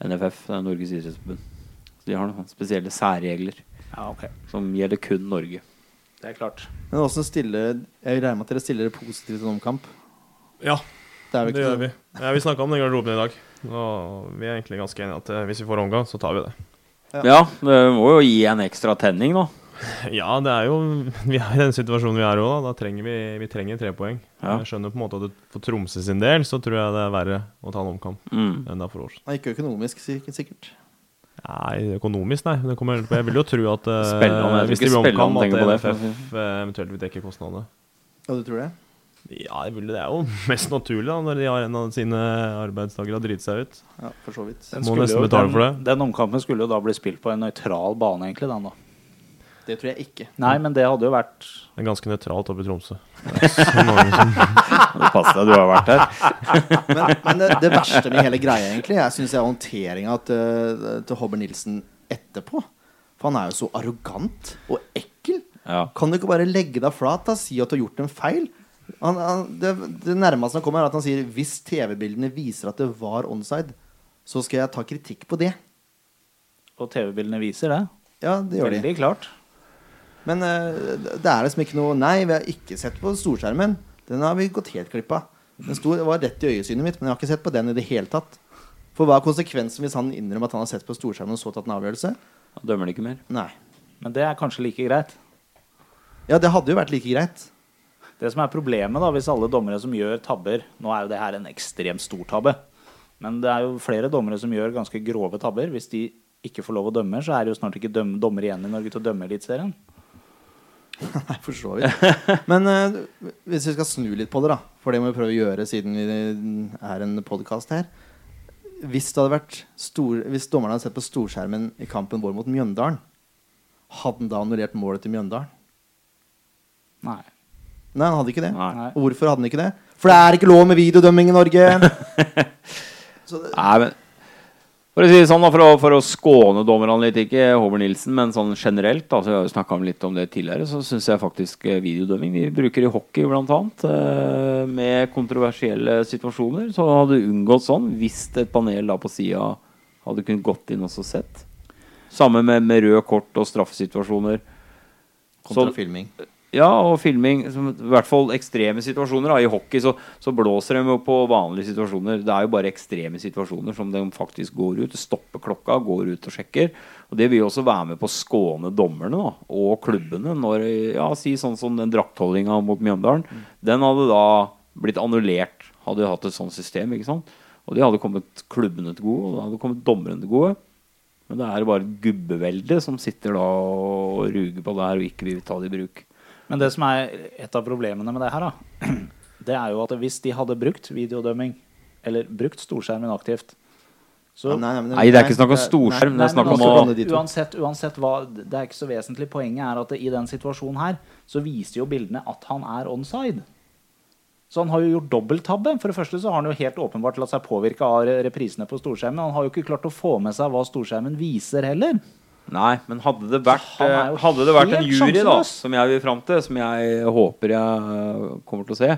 NFF, det er Norges idrettsforbund. Så de har noen sånne spesielle særregler
Ja, ok.
som gjelder kun Norge.
Det er klart.
Men også stille Jeg regner med at dere stiller positivt til en omkamp.
Ja,
Det er jo
Det
ikke
gjør vi.
noe-
Ja, vi snakka om det i garderoben i dag. Og vi er egentlig ganske enige at eh, hvis vi får omgang, så tar vi det.
Ja, det må jo gi en ekstra tenning, da.
Ja, det er jo Vi er i den situasjonen vi er òg, da. Da trenger vi, vi trenger tre poeng.
Ja.
Jeg skjønner på en måte at for Tromsø sin del så tror jeg det er verre å ta en omkamp
Mm.
enn det er for oss.
Nei, ikke økonomisk, sik- sikkert.
Nei, økonomisk, nei. Det kommer helt på. Jeg vil jo tro at eh,
Spillerne, jeg tror
hvis det
ikke
blir omkamp,
spillerne
at
tenker på det.
NFF eh, eventuelt vil dekke kostnadene.
Ja, du tror det?
Ja, jeg vil, det er jo mest naturlig, da, når de har en av sine arbeidstakere har driti seg ut.
Ja, for så vidt.
Må nesten betale for det.
Den, den omkampen skulle jo da bli spilt på en nøytral bane, egentlig. Den, da.
Det tror jeg ikke.
Nei, men det hadde jo vært
Det er ganske nøytralt oppe i Tromsø. Det er så mange som
Pass deg, du har vært her.
Men, men det, det verste med hele greia, egentlig, jeg syns er håndteringa til, til Hobber Nilsen etterpå. For han er jo så arrogant og ekkel.
Ja.
Kan du ikke bare legge deg flat da, si at du har gjort en feil? Han, han, det, det nærmeste han kommer, er at han sier hvis TV-bildene viser at det var onside, så skal jeg ta kritikk på det.
Og TV-bildene viser det.
Ja, det gjør de.
Veldig klart.
Men eh, det er liksom ikke noe Nei, vi har ikke sett på storskjermen. Den har vi gått helt glipp av. Den sto, var rett i øyesynet mitt, men jeg har ikke sett på den i det hele tatt. For hva er konsekvensen hvis han innrømmer at han har sett på storskjermen og så tatt en avgjørelse?
Da dømmer de ikke mer.
Nei.
Men det er kanskje like greit.
Ja, det hadde jo vært like greit.
Det som er problemet da, hvis alle dommere som gjør tabber Nå er jo det her en ekstremt stor tabbe. Men det er jo flere dommere som gjør ganske grove tabber. Hvis de ikke får lov å dømme, så er det jo snart ikke døm dommere igjen i Norge til å dømme Eliteserien.
Nei, for så vidt. Men eh, hvis vi skal snu litt på det, da. For det må vi prøve å gjøre siden vi er en podkast her. Hvis, det hadde vært stor, hvis dommerne hadde sett på storskjermen i kampen vår mot Mjøndalen, hadde han da annullert målet til Mjøndalen?
Nei.
Nei, han hadde ikke det.
Nei.
Og hvorfor hadde han ikke det? For det er ikke lov med videodømming i Norge! så det,
Nei, men for å si det sånn da, for å, for å skåne dommerne litt, ikke Håvard Nilsen, men sånn generelt, da, så vi har jo snakka litt om det tidligere, så syns jeg faktisk eh, videodømming de bruker i hockey blant annet, eh, med kontroversielle situasjoner, så hadde du unngått sånn hvis et panel da på sida hadde kunnet gått inn og så sett. Samme med, med røde kort og straffesituasjoner.
kontra
Så-
filming.
Ja, og filming. Som, I hvert fall ekstreme situasjoner. Da. I hockey så, så blåser de jo på vanlige situasjoner. Det er jo bare ekstreme situasjoner som de faktisk går ut. Stopper klokka, går ut og sjekker. Og Det vil jo også være med på å skåne dommerne da, og klubbene. Når, ja, si sånn som den draktholdinga mot Mjøndalen. Den hadde da blitt annullert, hadde jo hatt et sånt system. ikke sant? Og det hadde kommet klubbene til gode, og det hadde kommet dommerne til gode. Men det er bare et gubbevelde som sitter da og ruger på det her og ikke vil ta det i bruk.
Men det som er et av problemene med det her, da, det er jo at hvis de hadde brukt videodømming, eller brukt storskjermen aktivt, så
Nei, nei, men-
Nei, det er ikke snakk om
nei,
storskjerm,
nei,
det er snakk
men
om
la oss
å-
blande de to.
uansett, uansett hva Det er ikke så vesentlig. Poenget er at det, i den situasjonen her så viser jo bildene at han er onside. Så han har jo gjort dobbelttabbe. For det første så har han jo helt åpenbart latt seg påvirke av re- reprisene på storskjermen. Han har jo ikke klart å få med seg hva storskjermen viser heller.
Nei, men hadde det vært,
Han er jo
eh, hadde det vært en
helt
jury, da,
sjanseløs.
som jeg vil fram til, som jeg håper jeg eh, kommer til å se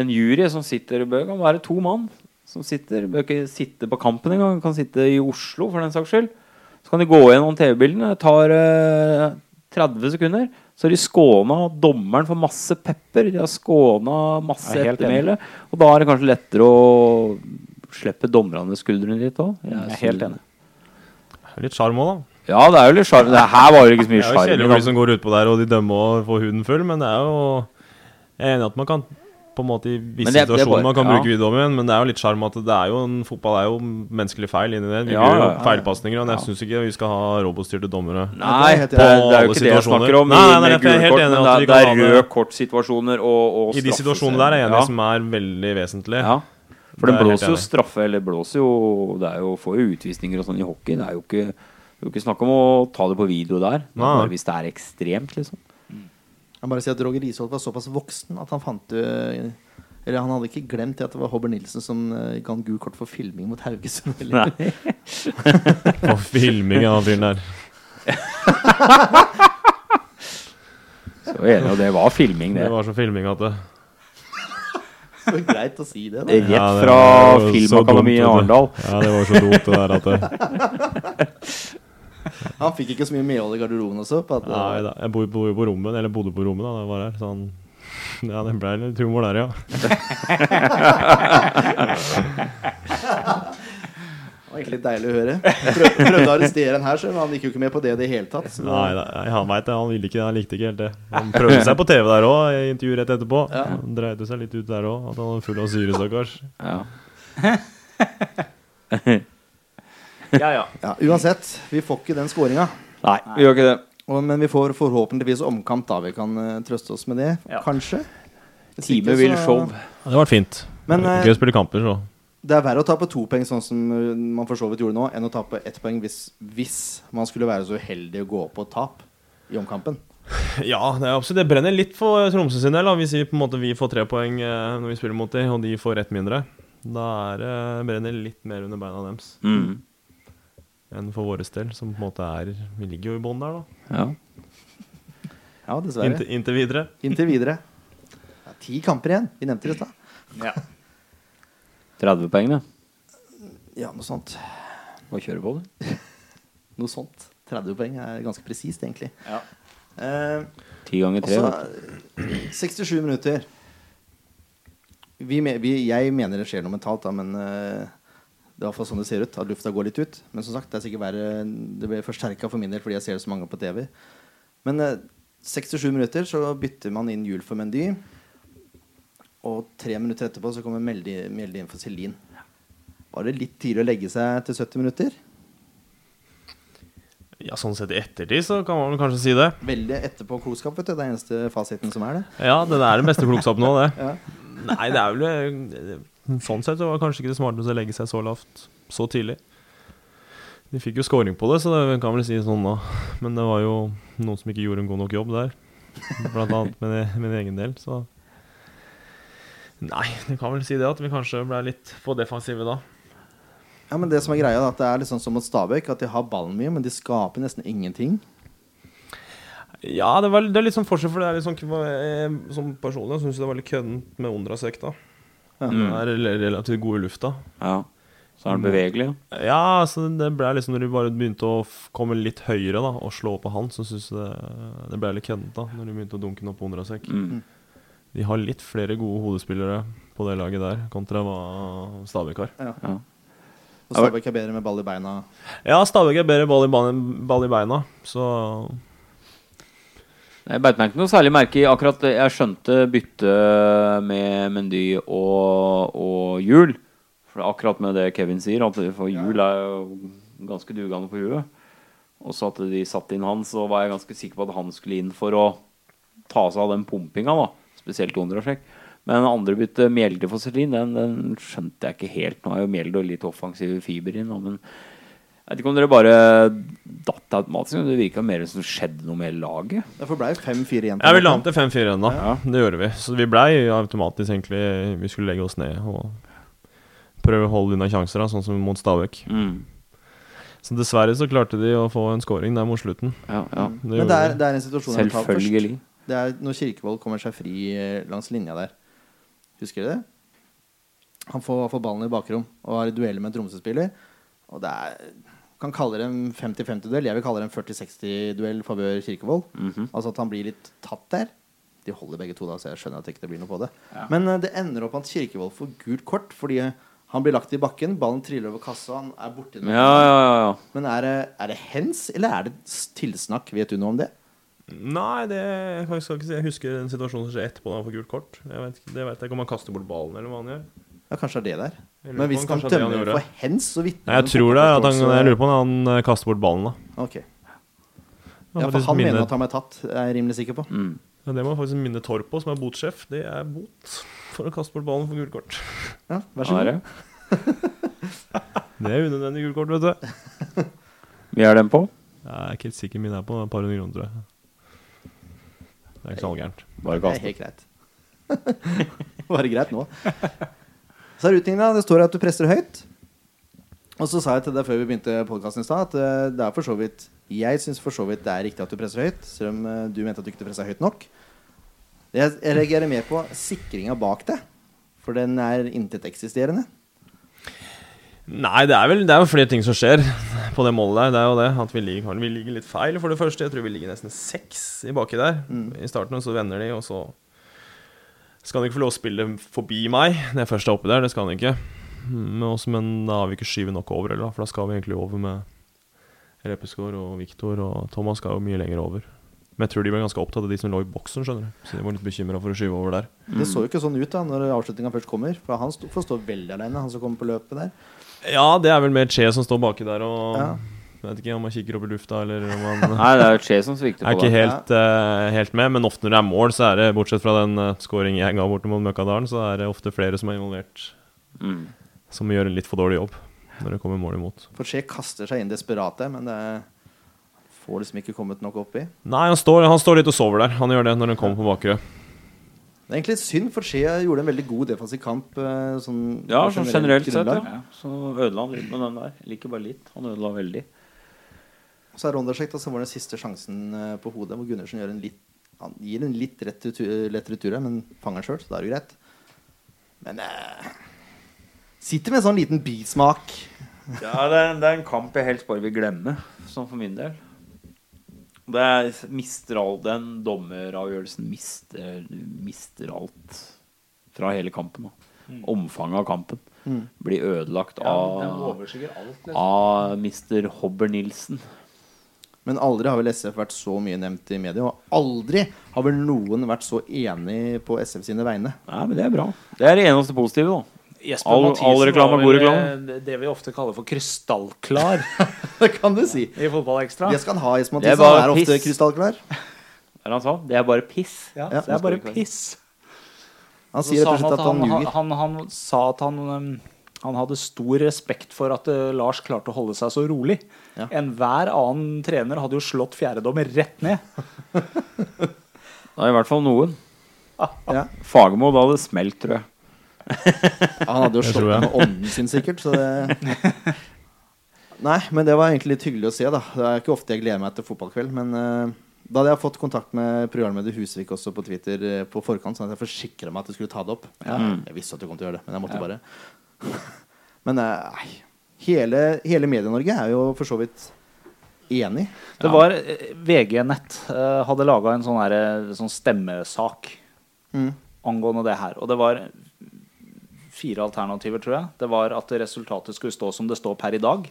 En jury som sitter bør kan være to mann som sitter. Bør ikke sitte på kampen engang, kan sitte i Oslo for den saks skyld. Så kan de gå gjennom TV-bildene. Det tar eh, 30 sekunder. Så har de skåna dommeren for masse pepper. De har skåna masse
Jeg er helt
ettermæle. Og da er det kanskje lettere å slippe dommerne skuldrene litt òg.
Jeg er helt enig.
Det er Litt sjarm òg, da.
Ja, det er jo litt sjarm. Det her var jo ikke så
Det
mye
er jo
sjarm. liksom. i
kjedelig sånn- for de
kampen.
som går utpå der og de dømmer og får huden full, men det er jo Jeg er enig i at man kan på en måte i visse
Men det- det er bare-
situasjoner man kan
ja.
bruke videodommen, men det er jo litt sjarm at det er jo en fotball er jo menneskelige feil inni det. Vi
Ja,
gjør jo
ja, ja.
feilpasninger, og jeg syns ikke vi skal ha robotstyrte dommere.
Nei,
Ja,
det, er- det er
det er helt
enig.
jo
Alle
ikke det jeg
situasjoner.
snakker om.
Nei,
i-
nei, nei,
med
jeg er
gule
helt
kort,
enig
men
at vi
det,
kan
er-
ha
det er
det.
røde kort-situasjoner og, og
I de
straffesituasjoner.
situasjonene der er jeg enig
Ja,
som er veldig vesentlig.
ja. For
Det
den
er jeg helt
blåser jo
enig i.
straffe, eller blåser jo Det er jo, får jo utvisninger og sånn i hockey. Det er jo ikke, det er jo ikke snakk om å ta det på video der. Det er
Nei.
Bare hvis det er ekstremt, liksom.
Jeg bare sier at Roger Risholt var såpass voksen at han fant eh, Eller han hadde ikke glemt det at det var Hobber Nilsen som eh, ga han gul kort for filming mot Haugesund. Eller?
Nei.
På filming av han fyren der.
Så jeg er enig, og det var filming, det.
Det var så filming at det
Det var greit å si det. Da.
Rett
Ja, det
fra
var jo så
Filmakademiet i
dumt, vet du.
Arendal.
Ja, det var så dumt det der at det
Han fikk ikke så mye medhold i garderoben også. På at, eh,
Nei da, jeg bor, bor jo på rommet, eller bodde på rommet da jeg var her. Så han, ja, det ble litt humor der, ja.
det var egentlig litt deilig å høre. Prøv, prøvde å arrestere han her, så, men han gikk jo ikke med på det i det hele tatt. Så,
Nei, da, han veit det, han ville ikke, han likte ikke helt det. Han prøvde seg på TV der òg, i intervju rett etterpå.
Ja.
Han dreide seg litt ut der òg, at han var full av syre, stakkars.
Ja.
Ja, ja.
Ja, uansett, vi får ikke den skåringa.
Nei, vi gjør ikke det.
Og- Men vi får forhåpentligvis omkamp, da. Vi kan eh, trøste oss med det,
Ja.
kanskje. Hvis ikke,
Time
så-
vil show.
Ja, det var fint.
Men, eh,
Gøy å spille kamper, så.
Det er verre å tape to poeng, sånn som uh, man for så vidt gjorde nå, enn å tape ett poeng hvis, hvis man skulle være så uheldig å gå opp på tap i omkampen.
Ja, det er absolutt. Det brenner litt for Tromsø sin del. da. Hvis vi, på en måte, vi får tre poeng eh, når vi spiller mot dem, og de får ett mindre, da er, det- brenner det litt mer under beina deres
Mm.
enn for vår del, som på en måte er Vi ligger jo i bånn der, da.
Ja.
Ja, dessverre.
Inntil, inntil videre.
Inntil videre. Det er ti kamper igjen. Vi nevnte det i stad.
ja.
30 poeng, det.
Ja, noe sånt.
Må kjøre på, det.
Noe sånt. 30 poeng er ganske presist, egentlig.
ja.
Eh,
Ti ganger tre.
også,
vet du.
67 Altså, minutter. vi, me- vi, jeg mener det skjer noe mentalt, da, men eh, det er i hvert fall sånn det ser ut. At lufta går litt ut. Men som sagt, det er sikkert verre Det ble forsterka for min del fordi jeg ser det så mange ganger på TV. Men eh, 67 minutter, så bytter man inn Jul for Mendy. Og tre minutter etterpå så kommer Meldi, Meldi inn for Celine. Var det litt tidlig å legge seg til 70 minutter?
Ja, sånn sett i ettertid så kan man kanskje si det.
Veldig etterpå klokskap, vet du. Det er eneste fasiten som er det.
Ja, det er den beste klokskapen nå, det.
Ja.
Nei, det er vel Sånn sett så var det kanskje ikke det smarteste å legge seg så lavt så tidlig. De fikk jo scoring på det, så det kan vel si sånn da. Men det var jo noen som ikke gjorde en god nok jobb der. Blant annet med det- min egen del, så Nei, det kan vel si det at vi kanskje ble litt for defensive da.
Ja, men det som er greia er at det er liksom som mot Stabæk, at de har ballen mye, men de skaper nesten ingenting.
Ja, det, var, det er litt sånn forskjell, for det er litt sånn eh, Som personlig syns jeg det var litt køddent med Ondrasek, da.
Ja.
Den er rel- relativt god i lufta.
Ja. Så er den bevegelig.
Ja, så det ble liksom når de bare begynte å f- komme litt høyere da, og slå på han, så syns jeg det, det ble litt køddent da, når de begynte å dunke den opp på Ondrasek.
Mm.
De har litt flere gode hodespillere på det laget der, kontra hva Stabæk har.
Ja.
Og Stabæk er bedre med ball i beina.
Ja, Stabæk er bedre ball i, ban- ball i beina, så
Jeg beit meg ikke noe særlig merke i akkurat det. Jeg skjønte byttet med Mendy og, og Hjul. For det er akkurat med det Kevin sier, at for Hjul er jo ganske dugende på huet. Og så at de satte inn han, så var jeg ganske sikker på at han skulle inn for å ta seg av den pumpinga, da. Spesielt Ondrasjek. Men andre bytte, Mjelde for Celine, den, den skjønte jeg ikke helt. Nå er jo Mjelde litt offensiv fiber inn, da, men jeg vet ikke om dere bare datt automatisk. men Det virka mer som det skjedde noe med laget.
Derfor ble det 5-4 igjen.
Ja, vi la om til 5-4 ennå.
Ja.
Det gjorde vi. Så vi blei automatisk egentlig Vi skulle legge oss ned og prøve å holde unna sjanser, da, sånn som mot Stabæk.
Mm.
Så dessverre så klarte de å få en scoring der mot slutten.
Ja, ja.
Det
Men det
gjorde
er,
de.
det er en situasjon jeg vil ta først.
Selvfølgelig.
Det er når Kirkevold kommer seg fri eh, langs linja der. Husker dere det? Han får, får ballen i bakrom og har duell med en Tromsø-spiller. Og det er kan kalle det en 50-50-duell. Jeg vil kalle det en 40-60-duell favør Kirkevold.
Mhm.
Altså at han blir litt tatt der. De holder begge to, da, så jeg skjønner at det ikke blir noe på det. Men eh, det ender opp med at Kirkevold får gult kort fordi eh, han blir lagt i bakken, ballen triller over kassa, han er borti den.
Ja, ja, ja, ja.
Men er det, er det hens, eller er det s- tilsnakk? Vet du noe om det?
Nei, det jeg skal ikke si. Jeg husker den situasjonen som skjer etterpå da han får gult kort. Jeg vet, ikke- det vet jeg ikke om han kaster bort ballen eller hva han gjør.
Ja, kanskje det er det der.
Jeg lurer
Men
på
hvis
om
han
kanskje det er det
dømmer
han gjorde.
for hens, så vitner
Nei, jeg
det om
tror det. er at han,
forståelse.
Jeg lurer på om han eh, kaster bort ballen, da.
Ok.
Det
Ja,
er
for
faktisk
han
minne-
mener at han ble tatt, er jeg rimelig sikker på.
Mm.
Ja, det må jeg faktisk minne Torp på, som er botsjef. Det er bot for å kaste bort ballen for gult kort.
Ja,
Ja,
vær så
det
god.
er det.
Det er unødvendig gult kort, vet du.
Vi er den på.
Jeg er ikke helt sikker min er på et par hundre kroner, tror jeg. Det er ikke så halvgærent.
Bare
Det er
kast.
helt greit. Bare greit nå. Så er utningen, da. Det står at du presser høyt. Og så sa jeg til deg før vi begynte podkasten i stad, at eh, det er for så vidt Jeg syns for så vidt det er riktig at du presser høyt, selv om eh, du mente at du ikke pressa høyt nok. Det Jeg jeg reagerer mer på sikringa bak deg, for den er inteteksisterende.
Nei, det er vel det er jo flere ting som skjer på det målet der. Det er jo det at vi ligger, vi ligger litt feil, for det første. Jeg tror vi ligger nesten seks i baki der i starten, og så vender de, og så skal han ikke få lov å spille forbi meg når jeg først er oppe der. Det skal han ikke. Men, også, men da har vi ikke skyvet nok over heller, da, for da skal vi egentlig over med Repeskår og Viktor, og Thomas skal jo mye lenger over. Men jeg tror de ble ganske opptatt av de som lå i boksen, skjønner du. Så de var litt bekymra for å skyve over der.
Mm.
Det så jo ikke sånn ut da når avslutninga først kommer. For han sto, får stå veldig alene, han som kommer på løpet der.
Ja, det er vel mer Che som står baki der og
Ja.
Jeg vet ikke om han kikker opp i lufta, eller om han
Nei, det er Che som svikter
Jeg er
på
ikke
det.
helt, eh, helt med, men ofte når det er mål, så er det bortsett fra den uh, scoringen jeg ga borte mot Møkkadalen, så er det ofte flere som er involvert,
Mm.
som gjør en litt for dårlig jobb når det kommer mål imot.
For Che kaster seg inn desperat der, men det får liksom ikke kommet nok oppi.
Nei, han står, han står litt og sover der. Han gjør det når han kommer på bakre.
Det er egentlig litt synd, for Che gjorde en veldig god defensiv kamp. eh, Sånn,
Ja,
på
sånn generelt sett,
grunnlag.
ja. Så ødela han litt med den der. Eller ikke bare litt, han ødela veldig.
Så er Rondersjek, da, så var det siste sjansen eh, på hodet, hvor Gundersen gjør en litt, han gir en litt rett retur, lett retur, her, men fanger den sjøl, så da er det jo greit. Men eh, sitter med en sånn liten bismak.
Ja, det er, det er en kamp jeg helst bare vil glemme, sånn for min del. Det er, mister all den dommeravgjørelsen mister, mister alt fra hele kampen. Da.
Mm.
omfanget av kampen.
Mm.
Blir ødelagt av,
overskygger alt.
av Mr. Hobber-Nielsen.
Men aldri har vel SF vært så mye nevnt i media, og aldri har vel noen vært så enig på SF sine vegne.
Nei, men det er bra. Det er det eneste positive, da.
Jesper
All-
Mathisen
all reklame
var
er god
vel,
reklame.
eh, Det vi ofte kaller for krystallklar
Det kan du si.
i Fotballekstra.
Det skal han ha, Espen
Det
Mathisen.
er bare
Han er ofte
piss.
krystallklar.
Hva er det han sa? Det er bare piss.
Ja,
Ja.
det er bare piss.
Han
Så
sier rett
Altså, sa
og slett at han
han,
ljuger.
han, han sa at han, um, han hadde stor respekt for at uh, Lars klarte å holde seg så rolig.
Ja.
Enhver annen trener hadde jo slått fjerdedommer rett ned.
Det er i hvert fall noen.
Ja.
Fagermo da hadde smelt, tror jeg.
Han hadde jo
Det
slått
tror jeg.
med ånden sin, sikkert. Så det Nei, men det var egentlig litt hyggelig å se, da. Det er ikke ofte jeg gleder meg til fotballkveld. Men eh, da hadde jeg fått kontakt med programleder Husvik også på Twitter eh, på forkant, sånn at jeg forsikra meg at du skulle ta det opp. Mm. Jeg visste at du kom til å gjøre det, men jeg måtte bare Men eh, nei. Hele, hele Medie-Norge er jo for så vidt enig.
Det var eh, VG-nett eh, hadde laga en sånn, her, eh, sånn stemmesak
Mm.
angående det her. Og det var fire alternativer, tror jeg. Det var at resultatet skulle stå som det står per i dag.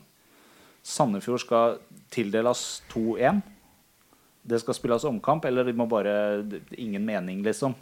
Sandefjord skal tildeles 2-1. Det skal spilles omkamp, eller de må bare Ingen mening, liksom.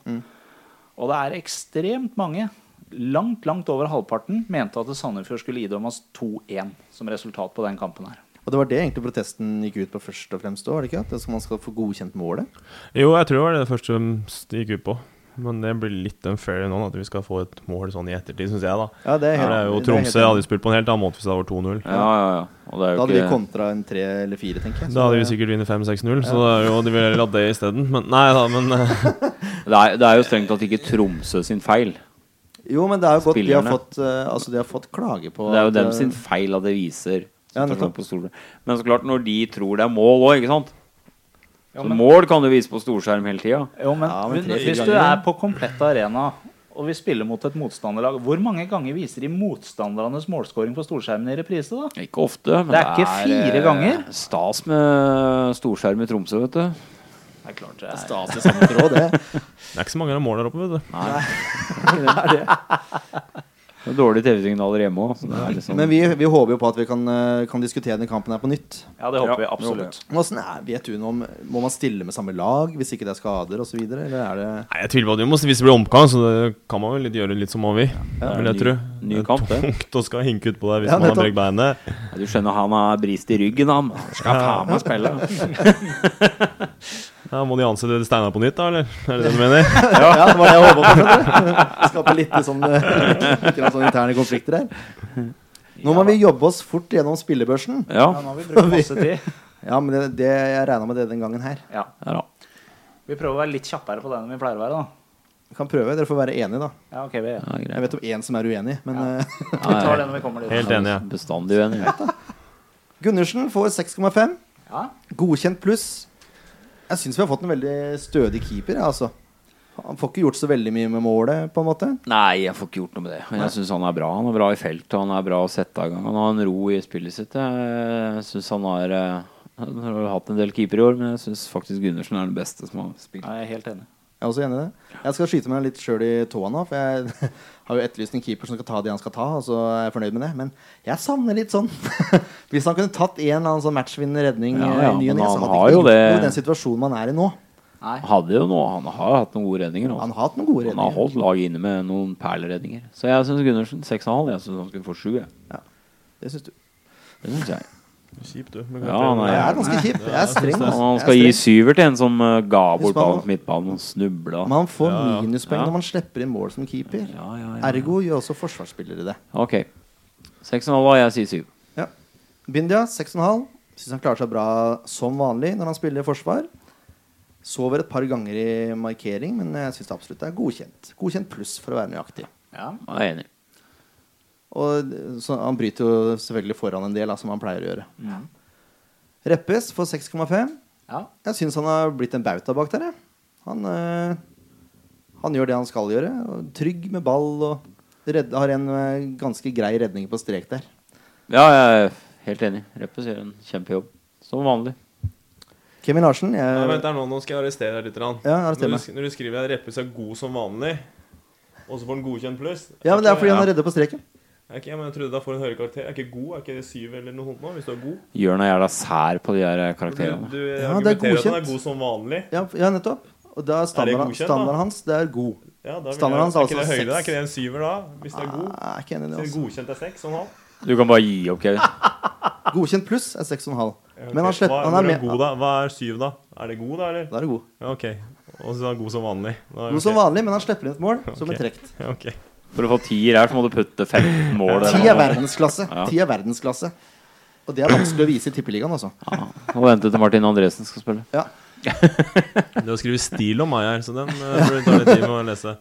Og det er ekstremt mange, langt, langt over halvparten, mente at Sandefjord skulle idømmes 2-1 som resultat på den kampen her.
Og det var det egentlig protesten gikk ut på først og fremst òg, var det ikke? At det skal- man skal få godkjent målet.
Jo, jeg tror det var det første de gikk ut på. Men det blir litt unfair nå, at vi skal få et mål sånn i ettertid, syns jeg, da.
Ja, det
For det er
det er
jo
helt
Tromsø
enig.
hadde spilt på en helt annen måte hvis det hadde vært 2-0.
Ja, ja, ja. Og det er
Da
jo
hadde vi
ikke
kontra en tre eller fire, tenker jeg.
Da hadde vi sikkert vunnet 5-6-0, så det er jo, de ville heller hatt det isteden. Men nei da, men eh,
det er, det er jo strengt tatt ikke Tromsø sin feil.
Jo, men det er jo godt de har,
Spillerne.
fått, eh, altså, de har fått klage på
Det er jo
at,
dem
eh,
sin feil at det viser
Ja,
situasjonen
nettopp.
på storskjerm. Men så klart, når de tror det er mål òg, ikke sant?
Ja,
Så
men-
mål kan du vise på storskjerm hele tida.
Jo, men,
Ja, men
hvis-
tre-fire
hvis du
ganger,
er
da.
på komplett arena og vi spiller mot et motstanderlag, hvor mange ganger viser de motstandernes målskåring på storskjermen i reprise, da?
Ikke ofte, men
Det er ikke fire
eh,
ganger.
stas med storskjerm i Tromsø, vet du.
Det er klart det er
Stas i Sandefjord også, det.
det er ikke så mange av målene der oppe, vet du.
Det er dårlige TV-signaler hjemme òg. Liksom,
Men vi, vi håper jo på at vi kan, eh, kan diskutere denne kampen her på nytt.
Ja, det håper
Ja,
vi
det
absolutt.
Men Hvordan er, vet du noe om Må man stille med samme lag hvis ikke det er skader osv.? Eller er det
Nei, jeg tviler på at vi må hvis det blir omkamp, så det kan man vel litt gjøre litt som man vil.
det er
Vil jeg
ny-
tro.
ny
Det er
kamp, det.
tungt å skal hinke utpå der hvis
Ja,
man har
nettopp.
brekt beinet.
Ja, du skjønner han har brist i ryggen, han. Skal faen meg spille.
Ja, må de ansette Steinar på nytt, da, eller? Er det det du mener?
ja. det var det jeg håpa på. skjønner du. Skape litt sånn, eh, litt grann sånn interne konflikter her. Nå må vi jobbe oss fort gjennom spillebørsen.
Ja,
Ja, nå har vi brukt masse tid.
Ja, men det, det jeg regna med det den gangen her.
Ja.
ja da.
Vi prøver å være litt kjappere på det enn vi pleier å være, da.
Vi kan prøve. Dere får være enige, da.
Ja, ok, vi,
Ja, greit.
Jeg vet om én som er uenig, men eh,
vi tar det når vi kommer dit.
Helt enig, ja.
Bestandig uenig.
Gundersen får 6,5.
Ja.
Godkjent pluss. Jeg syns vi har fått en veldig stødig keeper. ja, Altså. Han får ikke gjort så veldig mye med målet, på en måte.
Nei, jeg får ikke gjort noe med det. Men Jeg syns han er bra. Han er bra i feltet, han er bra å sette av gang. Han har en ro i spillet sitt. Jeg syns han har eh, Han har jo hatt en del keepere i år, men jeg syns faktisk Gundersen er den beste som har spilt.
Ja, jeg er helt enig.
Jeg er også enig i det. Jeg skal skyte meg litt sjøl i tåa nå, for jeg har jo etterlyst en keeper som skal ta de han skal ta, og så er jeg fornøyd med det. Men jeg savner litt sånn Hvis han kunne tatt en eller annen sånn matchvinnende redning
Ja,
eh,
ja,
i ny
men
og ne,
han
så hadde
har
ikke
jo
gjort
det.
noe i den situasjonen man er i nå.
Nei.
Hadde jo noe, han har hatt noen gode redninger.
Han
Også.
har hatt noen gode
Han har
redninger.
holdt laget inne med noen perleredninger. Så jeg syns Gundersen 6,5. Jeg syns han skulle få 7. jeg.
Det syns du.
Det syns jeg.
Kjipt, du.
Ja, han
Jeg
er,
er ganske kjip. Jeg er streng.
han,
altså.
han
Jeg er
skal gi
streng.
syver til en som eh, ga bort
Hvis man-
ballen på midtbanen og snubla.
Man får
Ja, ja.
minuspoeng
Ja.
når man slipper inn mål som keeper.
Ja, ja, ja.
Ergo gjør også forsvarsspillere det.
Ok. 6,5, jeg sier 7.
Ja. Bindia, 6,5. Syns han klarer seg bra som vanlig når han spiller forsvar. Sover et par ganger i markering, men jeg syns absolutt det er godkjent. Godkjent pluss, for å være nøyaktig.
Ja.
Jeg er enig.
Og så han bryter jo selvfølgelig foran en del, da, som han pleier å gjøre. Reppes får 6,5.
Mm. Ja.
Jeg syns han har blitt en bauta bak der, jeg. Han, øh, han gjør det han skal gjøre. og Trygg med ball og redd, har en øh, ganske grei redning på strek der.
Ja, jeg er helt enig. Reppes gjør en kjempejobb. Som vanlig.
Kevin Larsen,
Ja,
jeg
vent her nå, nå skal jeg arrestere deg litt. Rann.
Ja, arrester
når,
meg.
du, sk- når du skriver at Reppe seg god som vanlig, Og så får den godkjent pluss?
Ja, men det er fordi han
Ja.
er redde på streken.
Er ikke, ja, men jeg trodde da får du en høyere karakter. Er ikke god? Er ikke det syv eller noe sånt nå? Hvis du er god?
Jørn er jævla sær på de her
Du,
karakterene.
du
Ja, det er
argumenterer at den
godkjent.
er god som vanlig.
Ja, f- ja nettopp. Og da er standard,
godkjent, da?
standarden hans det er god.
Ja, da vil jeg,
Standarden hans er
er ikke det
altså
høyere? Er
seks.
ikke det en syver da? Hvis det er god?
Nei, jeg er ikke enig i det.
Så
Altså.
godkjent er seks sånn og en halv?
Du kan bare gi opp, Kevin.
Godkjent pluss er 6,5.
Ja, ok.
Men han, slett,
Hva,
han er
hvor
med.
god, da? Hva er syv, da? Er det god, da, eller?
Da er det god.
Ja, ok. Og så er han god som vanlig. Da er
God som
ok.
vanlig, men han slipper inn et mål som
Ok.
er trekt.
Ja, ok.
For å få tier her, så må du putte 15 mål.
Ti er verdensklasse.
Ja.
Ti er verdensklasse. Og det er vanskelig å vise i Tippeligaen, altså.
Ja, og vente til Martin Andresen skal spille.
Ja.
Det å skrive stil om meg her, så den eh, burde ta litt tid med å lese.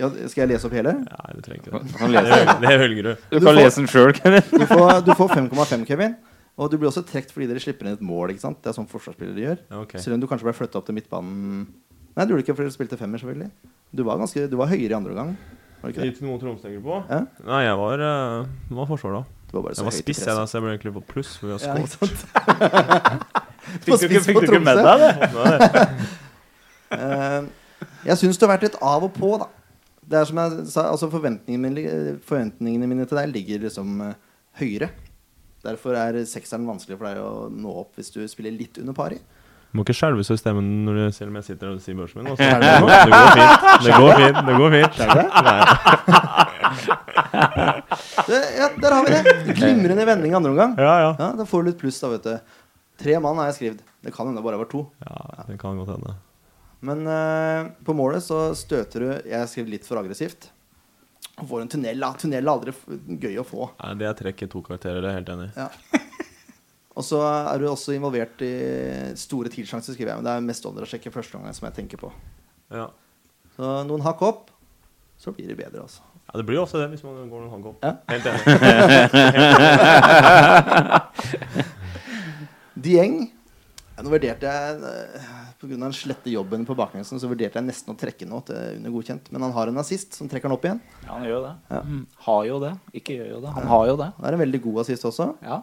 Ja, skal jeg lese opp hele?
Nei, du trenger
Du
ikke det.
kan
Det
lese,
høl- Det hølger du.
du kan lese den sjøl, Kevin.
Du får, du får 5,5, Kevin. Og du blir også trekt fordi dere slipper inn et mål. ikke sant? Det er sånn forsvarsspillere gjør.
Ja, ok.
Selv om du kanskje ble flytta opp til midtbanen Nei, du gjorde ikke fordi du spilte femmer, selvfølgelig. Du var, ganske, du var høyere i andre omgang. Var du ikke det?
Gitt noen tromstenger på?
Ja?
Nei, jeg var, eh, var forsvar da.
Du var bare så
Jeg var
høyt i
spiss, jeg, da,
presset.
så jeg ble egentlig på pluss. For vi har
Ja,
skåret.
ikke sant?
Fikk du ikke, fikk du ikke med deg det?
Nei,
Eh, jeg syns du har vært litt av og på, da. Det er som jeg sa, altså forventningene mine, lig- forventningene mine til deg ligger liksom eh, høyere. Derfor er sekseren vanskelig for deg å nå opp hvis du spiller litt under pari.
Må ikke skjelve så i stemmen når du, selv om jeg sitter og sier børsen min. altså. Det går fint. Det går fint. Det går fint. Nei.
Det, ja, der har vi det! Glimrende vending i andre omgang.
Ja, ja.
Ja, Da får du litt pluss, da, vet du. Tre mann har jeg skrevet. Det kan hende det bare var to.
Ja, det kan godt hende.
Men eh, på målet så støter du Jeg skrev litt for aggressivt. Og får en tunnel. da. Tunnel er aldri f- gøy å få.
Nei, det er trekk i to karakterer, det er jeg helt enig i.
Ja. Og så er du også involvert i store tilsjanser, skriver jeg. Men det er mest undersjekke første gangen som jeg tenker på.
Ja.
Så noen hakk opp, så blir det bedre, altså.
ja, det blir jo ofte det hvis man går noen hank opp.
Ja.
Helt enig.
Dieng ja, Nå vurderte jeg eh, Pga. den slette jobben på bakgrensen så vurderte jeg nesten å trekke nå til under godkjent. Men han har en assist som trekker han opp igjen.
Ja, han gjør jo det.
Ja.
Mm. Har jo det. Ikke gjør jo det. Han har jo det.
Han er en veldig god assist også.
Ja.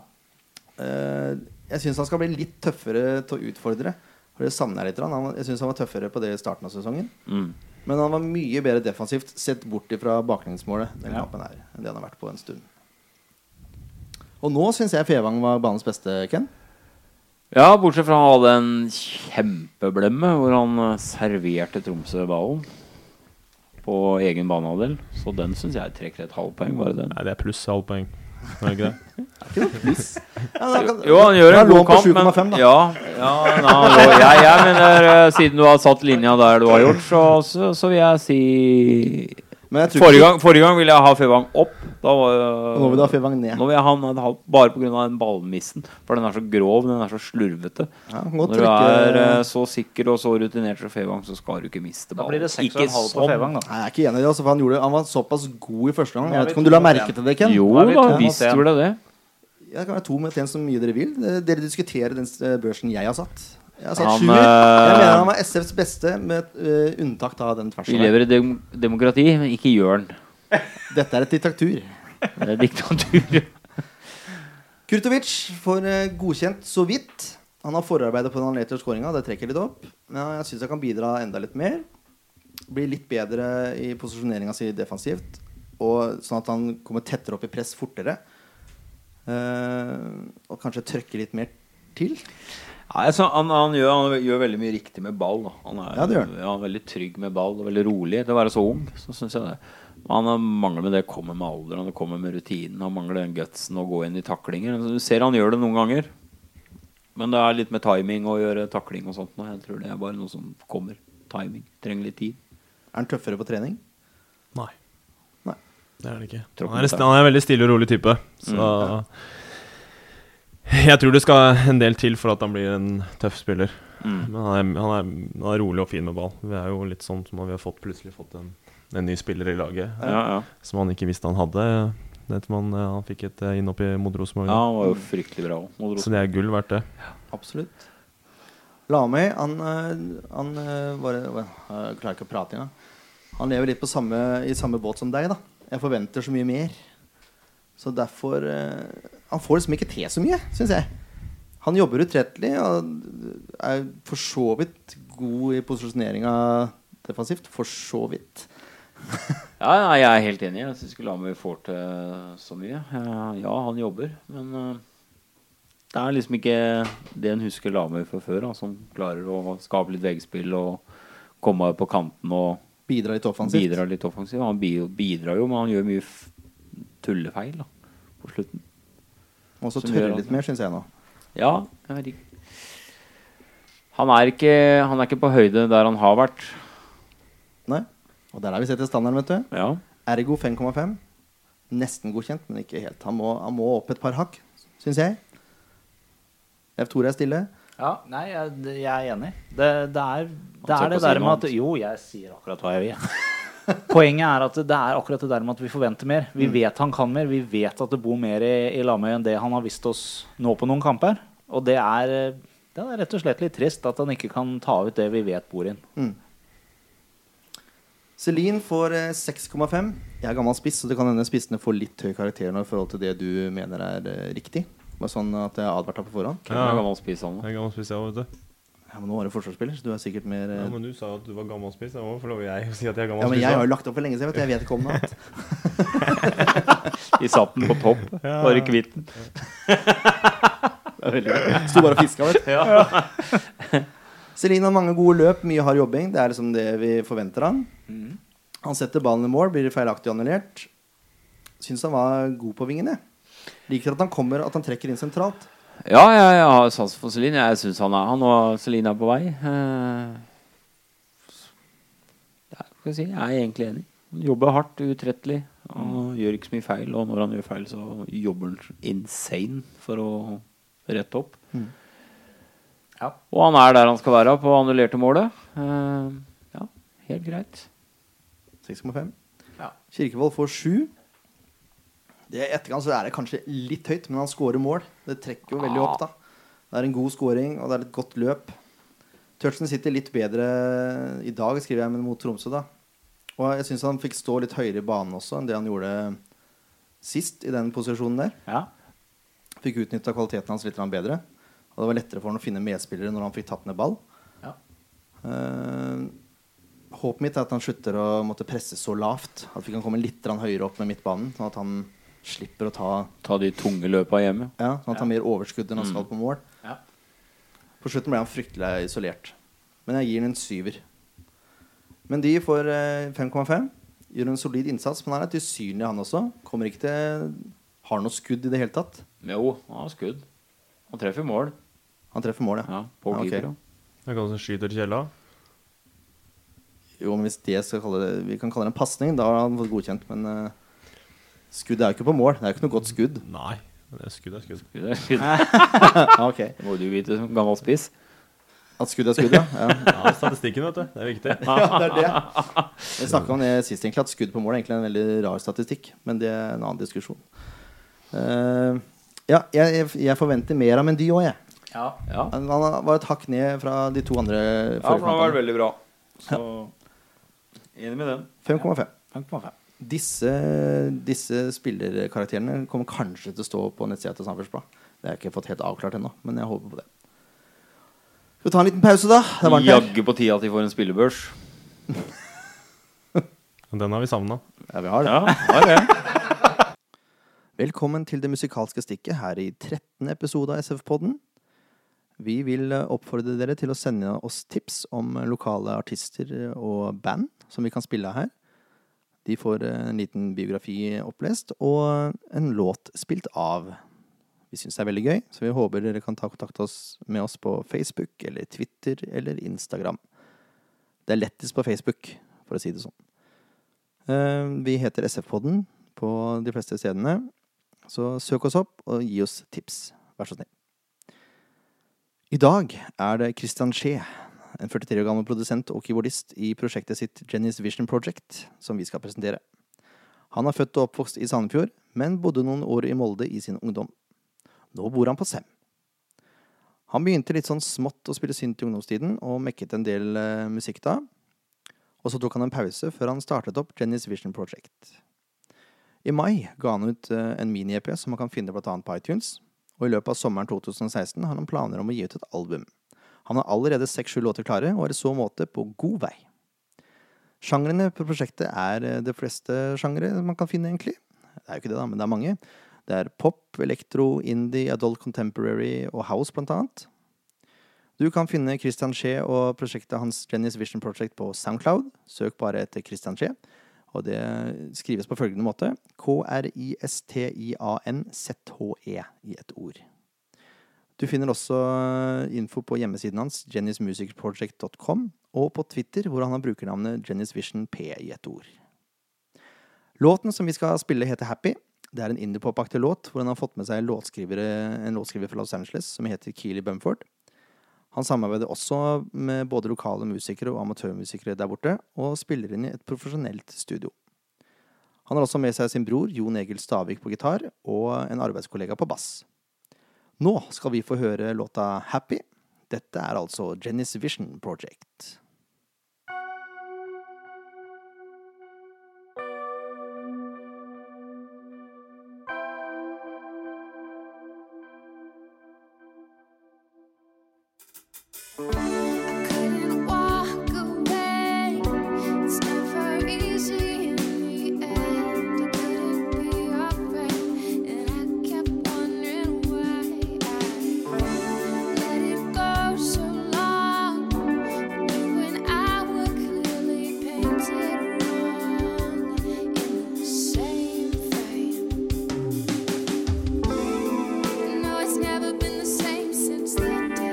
Eh, jeg syns han skal bli litt tøffere til å utfordre. For det savner jeg litt. grann. Han, jeg syns han var tøffere på det i starten av sesongen.
Mm.
Men han var mye bedre defensivt, sett bort ifra baklengsmålet den
Ja.
kampen her, enn det han har vært på en stund. Og nå syns jeg Fevang var banens beste, Ken.
Ja, bortsett fra han hadde en kjempeblemme hvor han eh, serverte Tromsø ballen på egen banehalvdel. Så den syns jeg trekker et halvt poeng, bare den.
Nei, det er pluss halvt poeng. Er det ikke det?
Ja, da kan-
Jo, han gjør
Da
en god
lå han på
kamp, men
7,5 da.
ja, ja, nei, han lå- jeg, jeg mener eh, siden du har satt linja der du har gjort, så, så, så vil jeg si
Men jeg tror
Forrige
ikke-
gang, forrige gang ville jeg ha Fevang opp. Da var, eh,
Nå vil du ha Fevang ned.
Nå vil jeg ha den halv- bare pga. den ballmissen. For den er så grov, den er så slurvete.
Ja, han kan godt
Når du
trykke-
er eh, så sikker og så rutinert som Fevang, så skal du ikke miste
Da
ballen.
blir det seks og
Ikke
en halv på
sånn.
Fevang, da.
Nei, jeg er ikke enig i det. Altså, for han, gjorde, han var såpass god i første gang.
Nå er
Jeg vet
vi
ikke om du la
to mot
merke
en.
til det, sånn. Ken?
Jo
Nå er vi
da,
to mot
visst
en.
gjorde det.
Jeg kan være to mot en så mye dere vil. Dere dere diskuterer den eh, børsen jeg har satt. Jeg har satt
Han,
sjuer.
eh,
Jeg mener han var SFs beste, med eh, unntak av den
Vi
Sånn
tversen. der.
lever i dem demokrati, men ikke Jørn.
Dette er et diktatur.
Det er diktatur.
Kurtovic får eh, godkjent så vidt. Han har forarbeidet på den han leter skåringa. Det trekker litt opp. Men jeg syns jeg kan bidra enda litt mer. Blir litt bedre i posisjoneringa si defensivt. Og sånn at han kommer tettere opp i press fortere. Eh, og kanskje trykker litt mer til.
Nei, altså, han, han, gjør, han gjør veldig mye riktig med ball. Da. Han er,
Ja, det gjør han.
han er veldig trygg med ball og veldig rolig. Til å være så ung, så syns jeg det. Men han mangler med det kommer med alderen, det kommer med rutinen. Han mangler den gutsen å gå inn i taklinger. Du ser han gjør det noen ganger. Men det er litt med timing å gjøre takling og sånt. nå. Jeg tror det er bare noe som kommer. Timing. Trenger litt tid.
Er han tøffere på trening?
Nei.
Nei.
Det er det ikke.
Tror ikke
Han er,
det.
han er en veldig stille og rolig type. Så Jeg tror det skal en del til for at han blir en tøff spiller. Men han er, han, er, han er rolig og fin med ball. Vi er jo litt sånn som om vi har fått, plutselig fått en, en ny spiller i laget
Ja, ja.
som han ikke visste han hadde. Etter man, eh, han fikk et eh, innhopp i mot Rosenborg.
ja han var jo fryktelig bra òg.
Så det er gull verdt det.
Absolutt. Lamøy, han, eh, han eh, var, var, Jeg klarer ikke å prate engang. Han lever litt på samme, i samme båt som deg, da. Jeg forventer så mye mer. Så derfor eh, Han får liksom ikke til så mye, syns jeg. Han jobber utrettelig og er for så vidt god i posisjoneringa defensivt. For så vidt.
Ja, ja, jeg er helt enig. Jeg syns ikke Lamy får til så mye. Eh, Ja, han jobber, men eh, det er liksom ikke det en husker Lamy fra før, da, som klarer å skape litt veggspill og komme på kanten og
Bidra litt offensivt.
bidra litt offensivt. Han bi- bidrar jo, men han gjør mye f tullefeil da, på slutten.
Og så
Som
tørre
gjør
litt
at-
mer, syns jeg nå.
Ja, jeg vet ikke. Han er ikke, han er ikke på høyde der han har vært.
Nei. Og der er vi setter standarden, vet du.
Ja.
Ergo 5,5. Nesten godkjent, men ikke helt. Han må, han må opp et par hakk, syns jeg. Leif Tore er stille.
Ja, nei, jeg, jeg er enig. Det, det er det,
tar på
er
å
det
si
der
noe
med at Jo, jeg sier akkurat hva jeg vil. Poenget er at det er akkurat det der med at vi forventer mer. Vi vet han kan mer. Vi vet at det bor mer i, i Lamøy enn det han har vist oss nå på noen kamper. Og det er, det er rett og slett litt trist at han ikke kan ta ut det vi vet bor inn.
Celine får eh, 6,5. Jeg er gammel spiss, så det kan hende spissene får litt høy karakter nå i forhold til det du mener er eh, riktig. Bare sånn at jeg har advart deg på forhånd.
Hvem er gammel spiss han da?
Jeg er gammel spiss, jeg òg, vet du.
Ja, men nå er du forsvarsspiller, så du er sikkert mer eh,
Ja, men du sa jo at du var gammel spiss. Jeg må få lov jeg å si at jeg er gammel
Ja, men
spiss.
jeg
da.
har jo lagt opp for lenge siden, vet du. Jeg vet ikke om noe annet.
Vi satt den på topp, bare kvitt den.
Sto bare og fiska, vet du. Celine har mange gode løp, mye hard jobbing. Det er liksom det vi forventer han. Han setter ballen i mål, blir feilaktig annullert. Syns han var god på vingene. Liker at han kommer, at han trekker inn sentralt.
Ja, jeg, jeg har sans for Celine. Jeg syns han er han, og Celine er på vei. Eh, ja, skal jeg, si, jeg er egentlig enig. Han jobber hardt, utrettelig. Han gjør ikke så mye feil, og når han gjør feil, så jobber han insane for å rette opp.
Ja.
Og han er der han skal være, på annullerte målet. Eh, ja, helt greit.
6,5.
Ja.
Kirkevold får 7. Det I etterkant så er det kanskje litt høyt, men han scorer mål. Det trekker jo veldig opp, da. Det er en god scoring, og det er et godt løp. Tørsten sitter litt bedre i dag, skriver jeg, men mot Tromsø, da. Og jeg syns han fikk stå litt høyere i banen også enn det han gjorde sist i den posisjonen der.
Ja.
Fikk utnytta kvaliteten hans litt grann bedre. Og det var lettere for han å finne medspillere når han fikk tatt ned ball.
Ja.
Eh, håpet mitt er at han slutter å måtte presse så lavt. At vi kan komme litt grann høyere opp med midtbanen, sånn at han slipper å ta
Ta de tunge løpa hjemme.
ja, sånn at han har mer overskudd enn han skal på mål.
Ja.
På slutten ble han fryktelig isolert. Men jeg gir han en syver. Men de får eh, 5,5. Gjør en solid innsats, men han er tilsynelig, han også. Kommer ikke til Har noe skudd i det hele tatt.
Jo, han har skudd. Han treffer mål.
Han treffer mål, ja.
Ja, på
ok.
keeper. ja.
Jeg kan også skyte til kjella.
Jo, men hvis det skal kalle det, vi kan kalle det en pasning, da har han fått godkjent. Men eh, skudd er jo ikke på mål. Det er jo ikke noe godt skudd.
Nei, det er skudd er skudd.
Skudd er skudd.
Ok
Det må du vite som gammel spiss.
At skudd er skudd, ja. ja.
Ja, statistikken, vet du. Det er viktig.
det er det. Vi snakka om det sist, egentlig, at skudd på mål er egentlig en veldig rar statistikk. Men det er en annen diskusjon. Eh, ja, jeg, jeg- jeg forventer mer av Mendy òg, jeg.
Ja.
Ja.
Han han var et hakk ned fra de to andre
Ja, for han var
forrige kampene.
veldig bra. Så enig med den.
5,5.
5,5.
Disse, disse spillerkarakterene kommer kanskje til å stå på nettsida til Sandefjords Blad. Det har jeg ikke fått helt avklart ennå, men jeg håper på det. Skal vi ta en liten pause, da? Det er varmt her.
Jaggu på tide at de får en spillebørs.
Og Den har vi savna.
Ja, vi har det.
Ja, det er det.
Velkommen til det musikalske stikket her i 13. episode av SF-podden. Vi vil eh, oppfordre dere til å sende oss tips om eh, lokale artister og band som vi kan spille her. De får eh, en liten biografi opplest og en låt spilt av. Vi syns det er veldig gøy, så vi håper dere kan ta kontakt oss med oss på Facebook eller Twitter eller Instagram. Det er lettest på Facebook, for å si det sånn. Eh, Vi heter SF-podden på de fleste stedene. Så søk oss opp og gi oss tips. Vær så snill. I dag er det Christian Schee, en 43 år gammel produsent og keyboardist i prosjektet sitt Jenny's Vision Project, som vi skal presentere. Han er født og oppvokst i Sandefjord, men bodde noen år i Molde i sin ungdom. Nå bor han på Sem. Han begynte litt sånn smått å spille synt i ungdomstiden, og mekket en del eh, musikk da. Og så tok han en pause før han startet opp Jenny's Vision Project. I mai ga han ut eh, en mini-EP som man kan finne bl.a. på iTunes, og i løpet av sommeren 2016 har han planer om å gi ut et album. Han har allerede seks-sju låter klare, og er i så måte på god vei. Sjangrene på prosjektet er eh, de fleste sjangre man kan finne, egentlig. Det er jo ikke det, da, men det er mange. Det er pop, elektro, indie, adult contemporary og house, blant annet. Du kan finne Christian Schee og prosjektet hans Jenny's Vision Project på Soundcloud. Søk bare etter Christian Schee. Og det skrives på følgende måte K-R-I-S-T-I-A-N-Z-H-E E i et ord. Du finner også eh, info på hjemmesiden hans, jennysmusicalproject.com, og på Twitter, hvor han har brukernavnet jennysvisionp i ett ord. Låten som vi skal spille, heter Happy. Det er en indiepopaktig låt, hvor han har fått med seg låtskrivere- en låtskriver fra Los Angeles som heter Keeley Bumford. Han samarbeider også med både lokale musikere og amatørmusikere der borte, og spiller inn i et profesjonelt studio. Han har også med seg sin bror Jon Egil Stavik på gitar, og en arbeidskollega på bass. Nå skal vi få høre låta Happy. Dette er altså Jenny's Vision Project.
Couldn't walk away. It's never easy in the end. It couldn't be alright, and I kept wondering why I let it go so long. When I was clearly painted wrong in the same frame. No, it's never been the same since that day.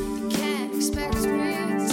Oh,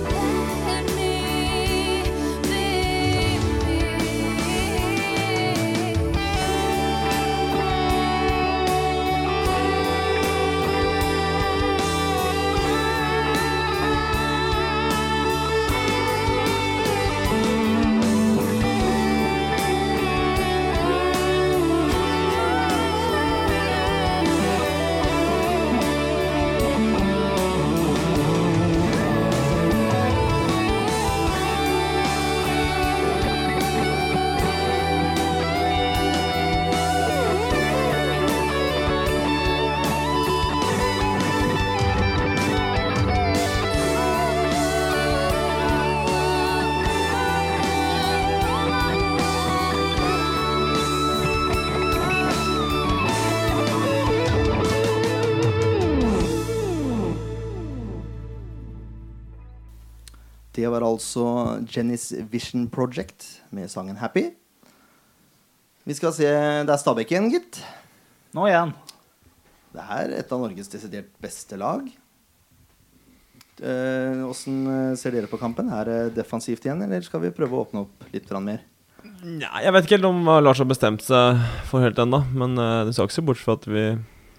Oh,
Det var altså Jennys Vision Project med sangen 'Happy'. Vi skal se Det er Stabæk igjen, gitt.
Nå igjen.
Det er et av Norges desidert beste lag. Åssen eh, ser dere på kampen? Er det defensivt igjen, eller skal vi prøve å åpne opp litt grann mer?
Nei, jeg vet ikke helt om hva Lars har bestemt seg for helt ennå. Men eh, det skal ikke se bort fra at vi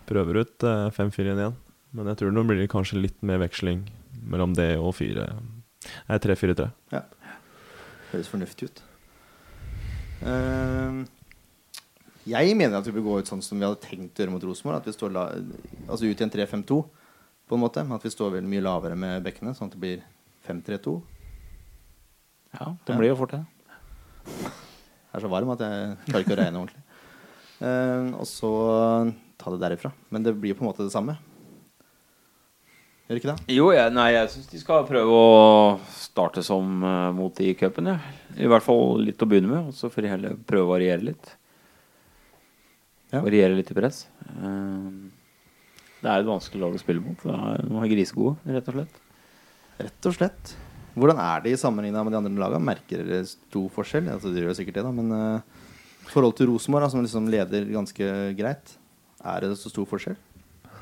prøver ut eh, 5-4-1 igjen. Men jeg tror nå blir det kanskje litt mer veksling mellom det og 4 Nei, 3-4-3.
Ja. Høres fornuftig ut. Eh, jeg mener at vi bør gå ut sånn som vi hadde tenkt å gjøre mot Rosenborg. At vi står la altså ut i en 3-5-2, på en måte. Men at vi står veldig mye lavere med bekkene, sånn at det blir 5-3-2.
Ja, det blir jo fort det.
Jeg er så varm at jeg klarer ikke å regne ordentlig. Eh, og så ta det derifra. Men det blir jo på en måte det samme. Gjør det ikke det?
Jo, jeg, nei, jeg syns de skal prøve å starte som eh, mot de i cupen. Ja. I hvert fall litt å begynne med, og så får de heller prøve å variere litt.
Ja.
Variere litt i press. Eh, Det er et vanskelig lag å spille mot. Det er, de er grisegode, rett og slett.
Rett og slett. Hvordan er de sammenligna med de andre lagene? Merker dere stor forskjell? Altså, dere gjør sikkert det, da, men uh, forhold til Rosenborg, da, som liksom leder ganske greit, er det så stor forskjell?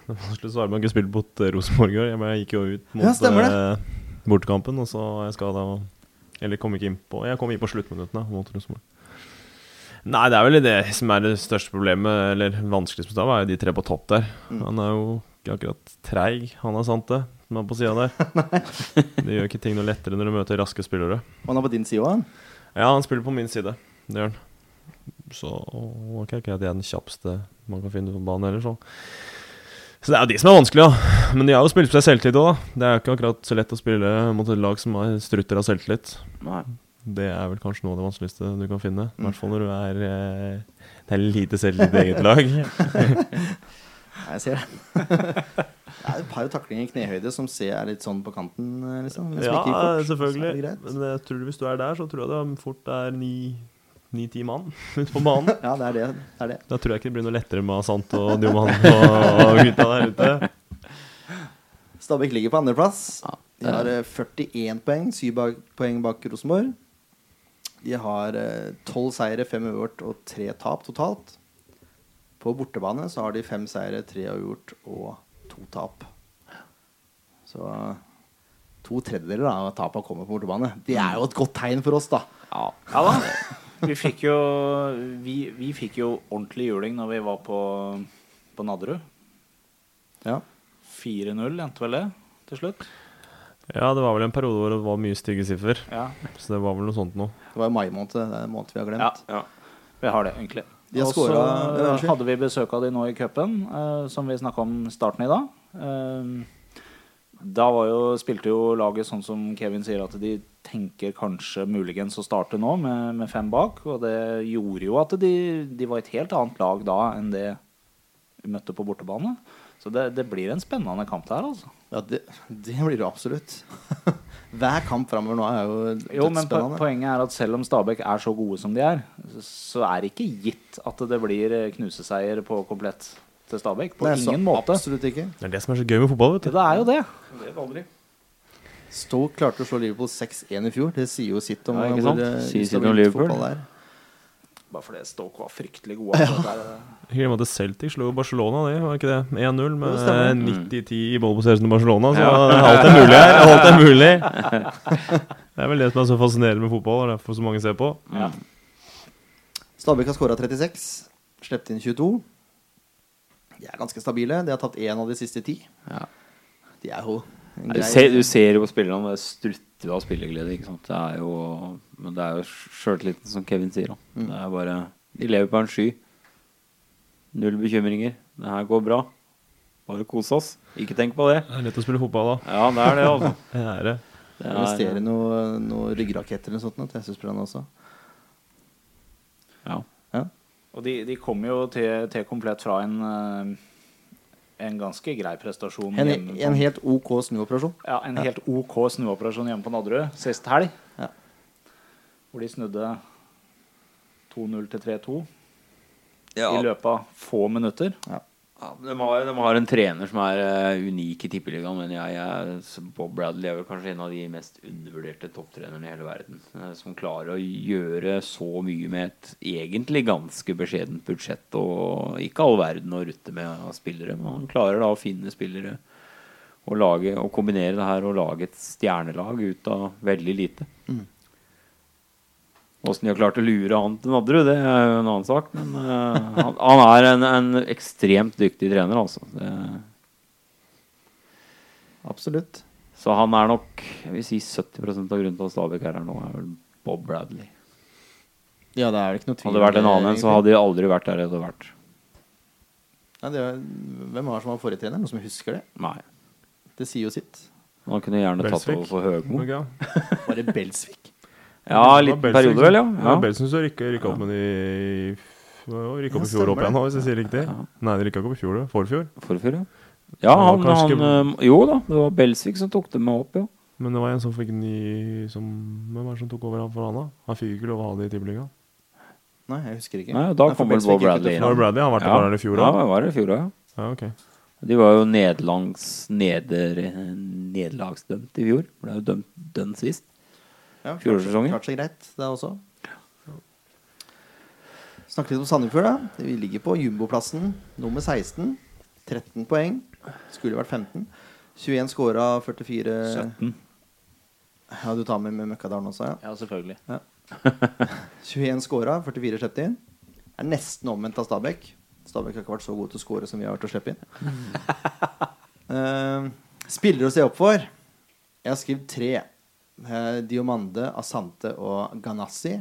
Til så har man ikke spilt mot eh, Rosenborg i år. Jeg bare gikk jo ut mot
Ja, stemmer det.
eh, bortekampen, og så jeg skal da Eller kom ikke inn på Jeg kom inn på sluttminuttene mot Rosenborg. Nei, det er vel det som er det største problemet, eller vanskeligste med Stav, er jo de tre på topp der.
Mm.
Han er jo ikke akkurat treig, han er sant det, som er på sida der. det gjør ikke ting noe lettere når du møter raske spillere.
Og han er på din side òg, han.
Ja, han spiller på min side. Det gjør han. Så og det er ikke at jeg er den kjappeste man kan finne på banen heller, så. Så det er jo de som er vanskelige, da. Men de har jo spilt på seg selvtillit òg, da. Det er jo ikke akkurat så lett å spille mot et lag som har strutter av selvtillit.
Nei.
Det er vel kanskje noe av det vanskeligste du kan finne. I hvert fall når du er eh, Det er lite selvtillit i eget lag.
Nei, jeg ser det. det er et par taklinger i knehøyde som ser er litt sånn på kanten, eh, liksom. men som
Ja,
ikke gir kort, så er det
selvfølgelig.
greit.
Men jeg tror hvis du er der, så tror jeg det fort er ni-ti mann ute på banen.
Ja, det er det. det, er det.
Da tror jeg ikke det blir noe lettere med Sant og Dioman og gutta der ute.
Stabæk ligger på andreplass.
Ja,
De har eh, 41 poeng, 7 bak- poeng bak Rosenborg. De har eh, 12 seire, 5 uavgjort og 3 tap totalt. På bortebane så har de 5 seire, 3 uavgjort og 2 tap. Så eh, to tredjedeler da, av tapene kommer på bortebane. Det er jo et godt tegn for oss, da.
Ja.
Ja da. Vi fikk jo, vi, vi fikk jo ordentlig juling når vi var på, på Nadderud.
Ja.
4-0 endte vel det til slutt?
Ja, det var vel en periode hvor det var mye stygge siffer.
Ja.
Så det var vel noe sånt nå.
Det var i mai måned, det er en måned vi har
ja.
glemt.
Vi har det, egentlig.
De har
Og så
scoret- eh, ja, unnskyld.
hadde vi besøk av de nå i cupen, eh, som vi snakka om starten i dag. Eh, da var jo, spilte jo laget sånn som Kevin sier, at de tenker kanskje muligens å starte nå med, med fem bak. Og det gjorde jo at de, de var et helt annet lag da enn det vi møtte på bortebane. Så det, det blir en spennende kamp der, altså.
Ja, det, det blir det absolutt. Hver kamp framover nå er jo
Jo, men po
dødsspennende.
poenget er at selv om Stabæk er så gode som de er, så er det ikke gitt at det blir eh, knuseseier på komplett til Stabæk. På
Nei, så
ingen måte.
Absolutt ikke.
Det er det som er så gøy med fotball, vet
Det
du.
er jo det.
Stoke klarte å slå Liverpool 6-1 i fjor. Det sier jo sitt om
Ja, ikke sant?
hvor eh,
Sier sitt
ustabilt
om Liverpool.
fotball er.
Bare fordi Stoke var fryktelig gode. altså, det er-
Hyggelig med at Celtic slo Barcelona, det var ikke det? 1-0
Jo,
med
Mm.
stemmer.
90-10 i ballpossession til Barcelona, så alt er mulig her. Alt er mulig. Det er vel det som er så fascinerende med fotball, og derfor så mange ser på.
Mm.
Ja.
Stabæk har skåra 36, sluppet inn 22. De er ganske stabile. De har tatt én av de siste ti.
Ja.
De er jo en
Du
grei-
ser, du ser jo på spillerne, det strutter av spillerglede. Ikke sant? Det er jo, men det er jo sjøltilliten, som Kevin sier. Da. Det er bare, de lever på en sky. Null bekymringer. Det her går bra. Bare kose oss. Ikke tenk på det.
Det er lett å spille fotball da.
Ja, det er det, altså.
Det er det.
Det
Investere
er,
i noe, noe ryggraketter eller noe sånt nå til SS-programmet også.
ja.
Ja.
Og de, de kom jo til, til komplett fra en, eh, en ganske grei prestasjon.
En,
hjemme på-
en helt OK snuoperasjon.
ja, en helt OK snuoperasjon hjemme på Nadderud sist helg.
Ja.
Hvor de snudde 2-0 til 3-2
Ja.
i løpet av få minutter.
Ja.
Ja, de, har, de har en trener som er eh, unik i tippeligaen, men jeg, jeg, Bob Bradley er vel kanskje en av de mest undervurderte topptrenerne i hele verden. eh, som klarer å gjøre så mye med et egentlig ganske beskjedent budsjett og ikke all verden å rutte med av spillere. Men han klarer da å finne spillere og, lage, og kombinere det her og lage et stjernelag ut av veldig lite. Åssen de har klart å lure han til Nadderud, det er jo en annen sak. Men eh, han, han er en, en ekstremt dyktig trener, altså. Det,
Absolutt.
så han er nok jeg vil si 70 av grunnen til at Stabæk er her nå, er vel Bob Bradley.
Ja, det er det ikke noe tvil
Hadde det vært en annen en, så
egentlig.
hadde de aldri vært der de hadde vært.
Nei, det er, Hvem var det som var forrige trener? Noen som husker det?
Nei.
Det sier jo sitt.
Men Han kunne gjerne tatt
Belsvik.
over for Høgmo.
Ok, ja.
Var det Belsvik?
Ja, en liten periode, vel, ja. ja.
Belsen som rykka rykka opp med de i f- hva var det, Rykka opp i fjor
stemmer
opp igjen nå, hvis jeg sier riktig. Nei, de rykka ikke opp i fjor, det. forfjor.
Forfjor, ja. Ja,
var
han, han
kanskje
eh, Jo da, det var Belsvik som tok dem med opp, ja.
Men det var en som fikk ny som, Hvem var det som tok over han for han da? Han fikk ikke lov å ha det i tippeligaen.
Nei, jeg husker ikke.
Nei, og da
for
kom vel
Belsvik
Bob
gikk ut
Bradley
og-
inn.
Var det Bradley? Han var
ja.
der i fjor
Ja,
òg?
det var i fjor, ja.
Ja, ok.
De var jo nederlangs, neder, nederlagsdømt i fjor. Ble jo dømt dønn sist.
Ja, klart-
Fjorårssesongen.
Klart seg greit, det også. Snakke litt om Sandefjord, da. Vi ligger på jumboplassen, nummer 16. 13 poeng. Skulle vært 15. 21 scora, 44 17. Ja, du tar med, med Møkkadalen også, ja.
Ja, selvfølgelig.
21 scora, 44 sluppet inn. Er nesten omvendt av Stabæk. Stabæk har ikke vært så god til å score som vi har vært til å slippe inn. Eh, spillere å se opp for. Jeg har skrevet tre. Eh, Diomande, Asante og Ganassi.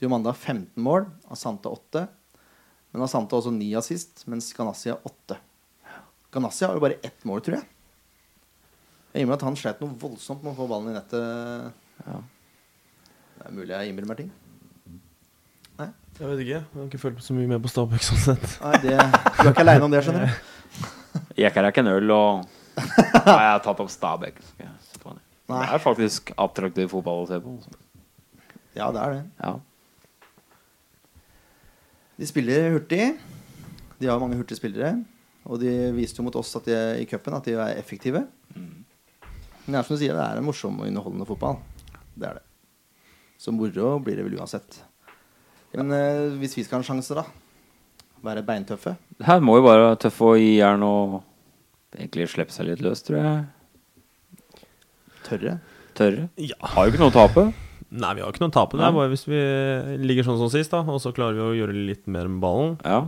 Diomande har 15 mål, Asante 8. Men Asante har også 9 assist, mens Ganassi har 8. Ganassi har jo bare ett mål, tror jeg. Jeg innbiller meg at han slet noe voldsomt med å få ballen i nettet. Det er mulig jeg innbiller meg ting. Nei?
Jeg vet ikke. Jeg har ikke følt så mye med på Stabæk sånn sett.
Nei, det, du er ikke aleine om det, skjønner du.
Jeg kan ikke en øl og Nei, jeg har tatt opp Stabæk. så skal jeg se på han. Det
Nei.
er faktisk attraktiv fotball å se på. altså.
Ja, det er det.
Ja.
De spiller hurtig. De har mange hurtige spillere. Og de viste jo mot oss at de, i cupen at de er effektive. Men det er som du sier, det er en morsom og underholdende fotball. Det er det. Så moro blir det vel uansett. Men eh, hvis vi skal ha en sjanse, da Være beintøffe.
Det her må jo bare være tøff og gi jern og egentlig slippe seg litt løs, tror jeg.
Tørre.
Tørre.
Ja.
Har jo ikke noe å tape.
Nei, vi har ikke noe å tape. Det
Nei.
er bare hvis vi ligger sånn som sist, da, og så klarer vi å gjøre litt mer med ballen,
Ja.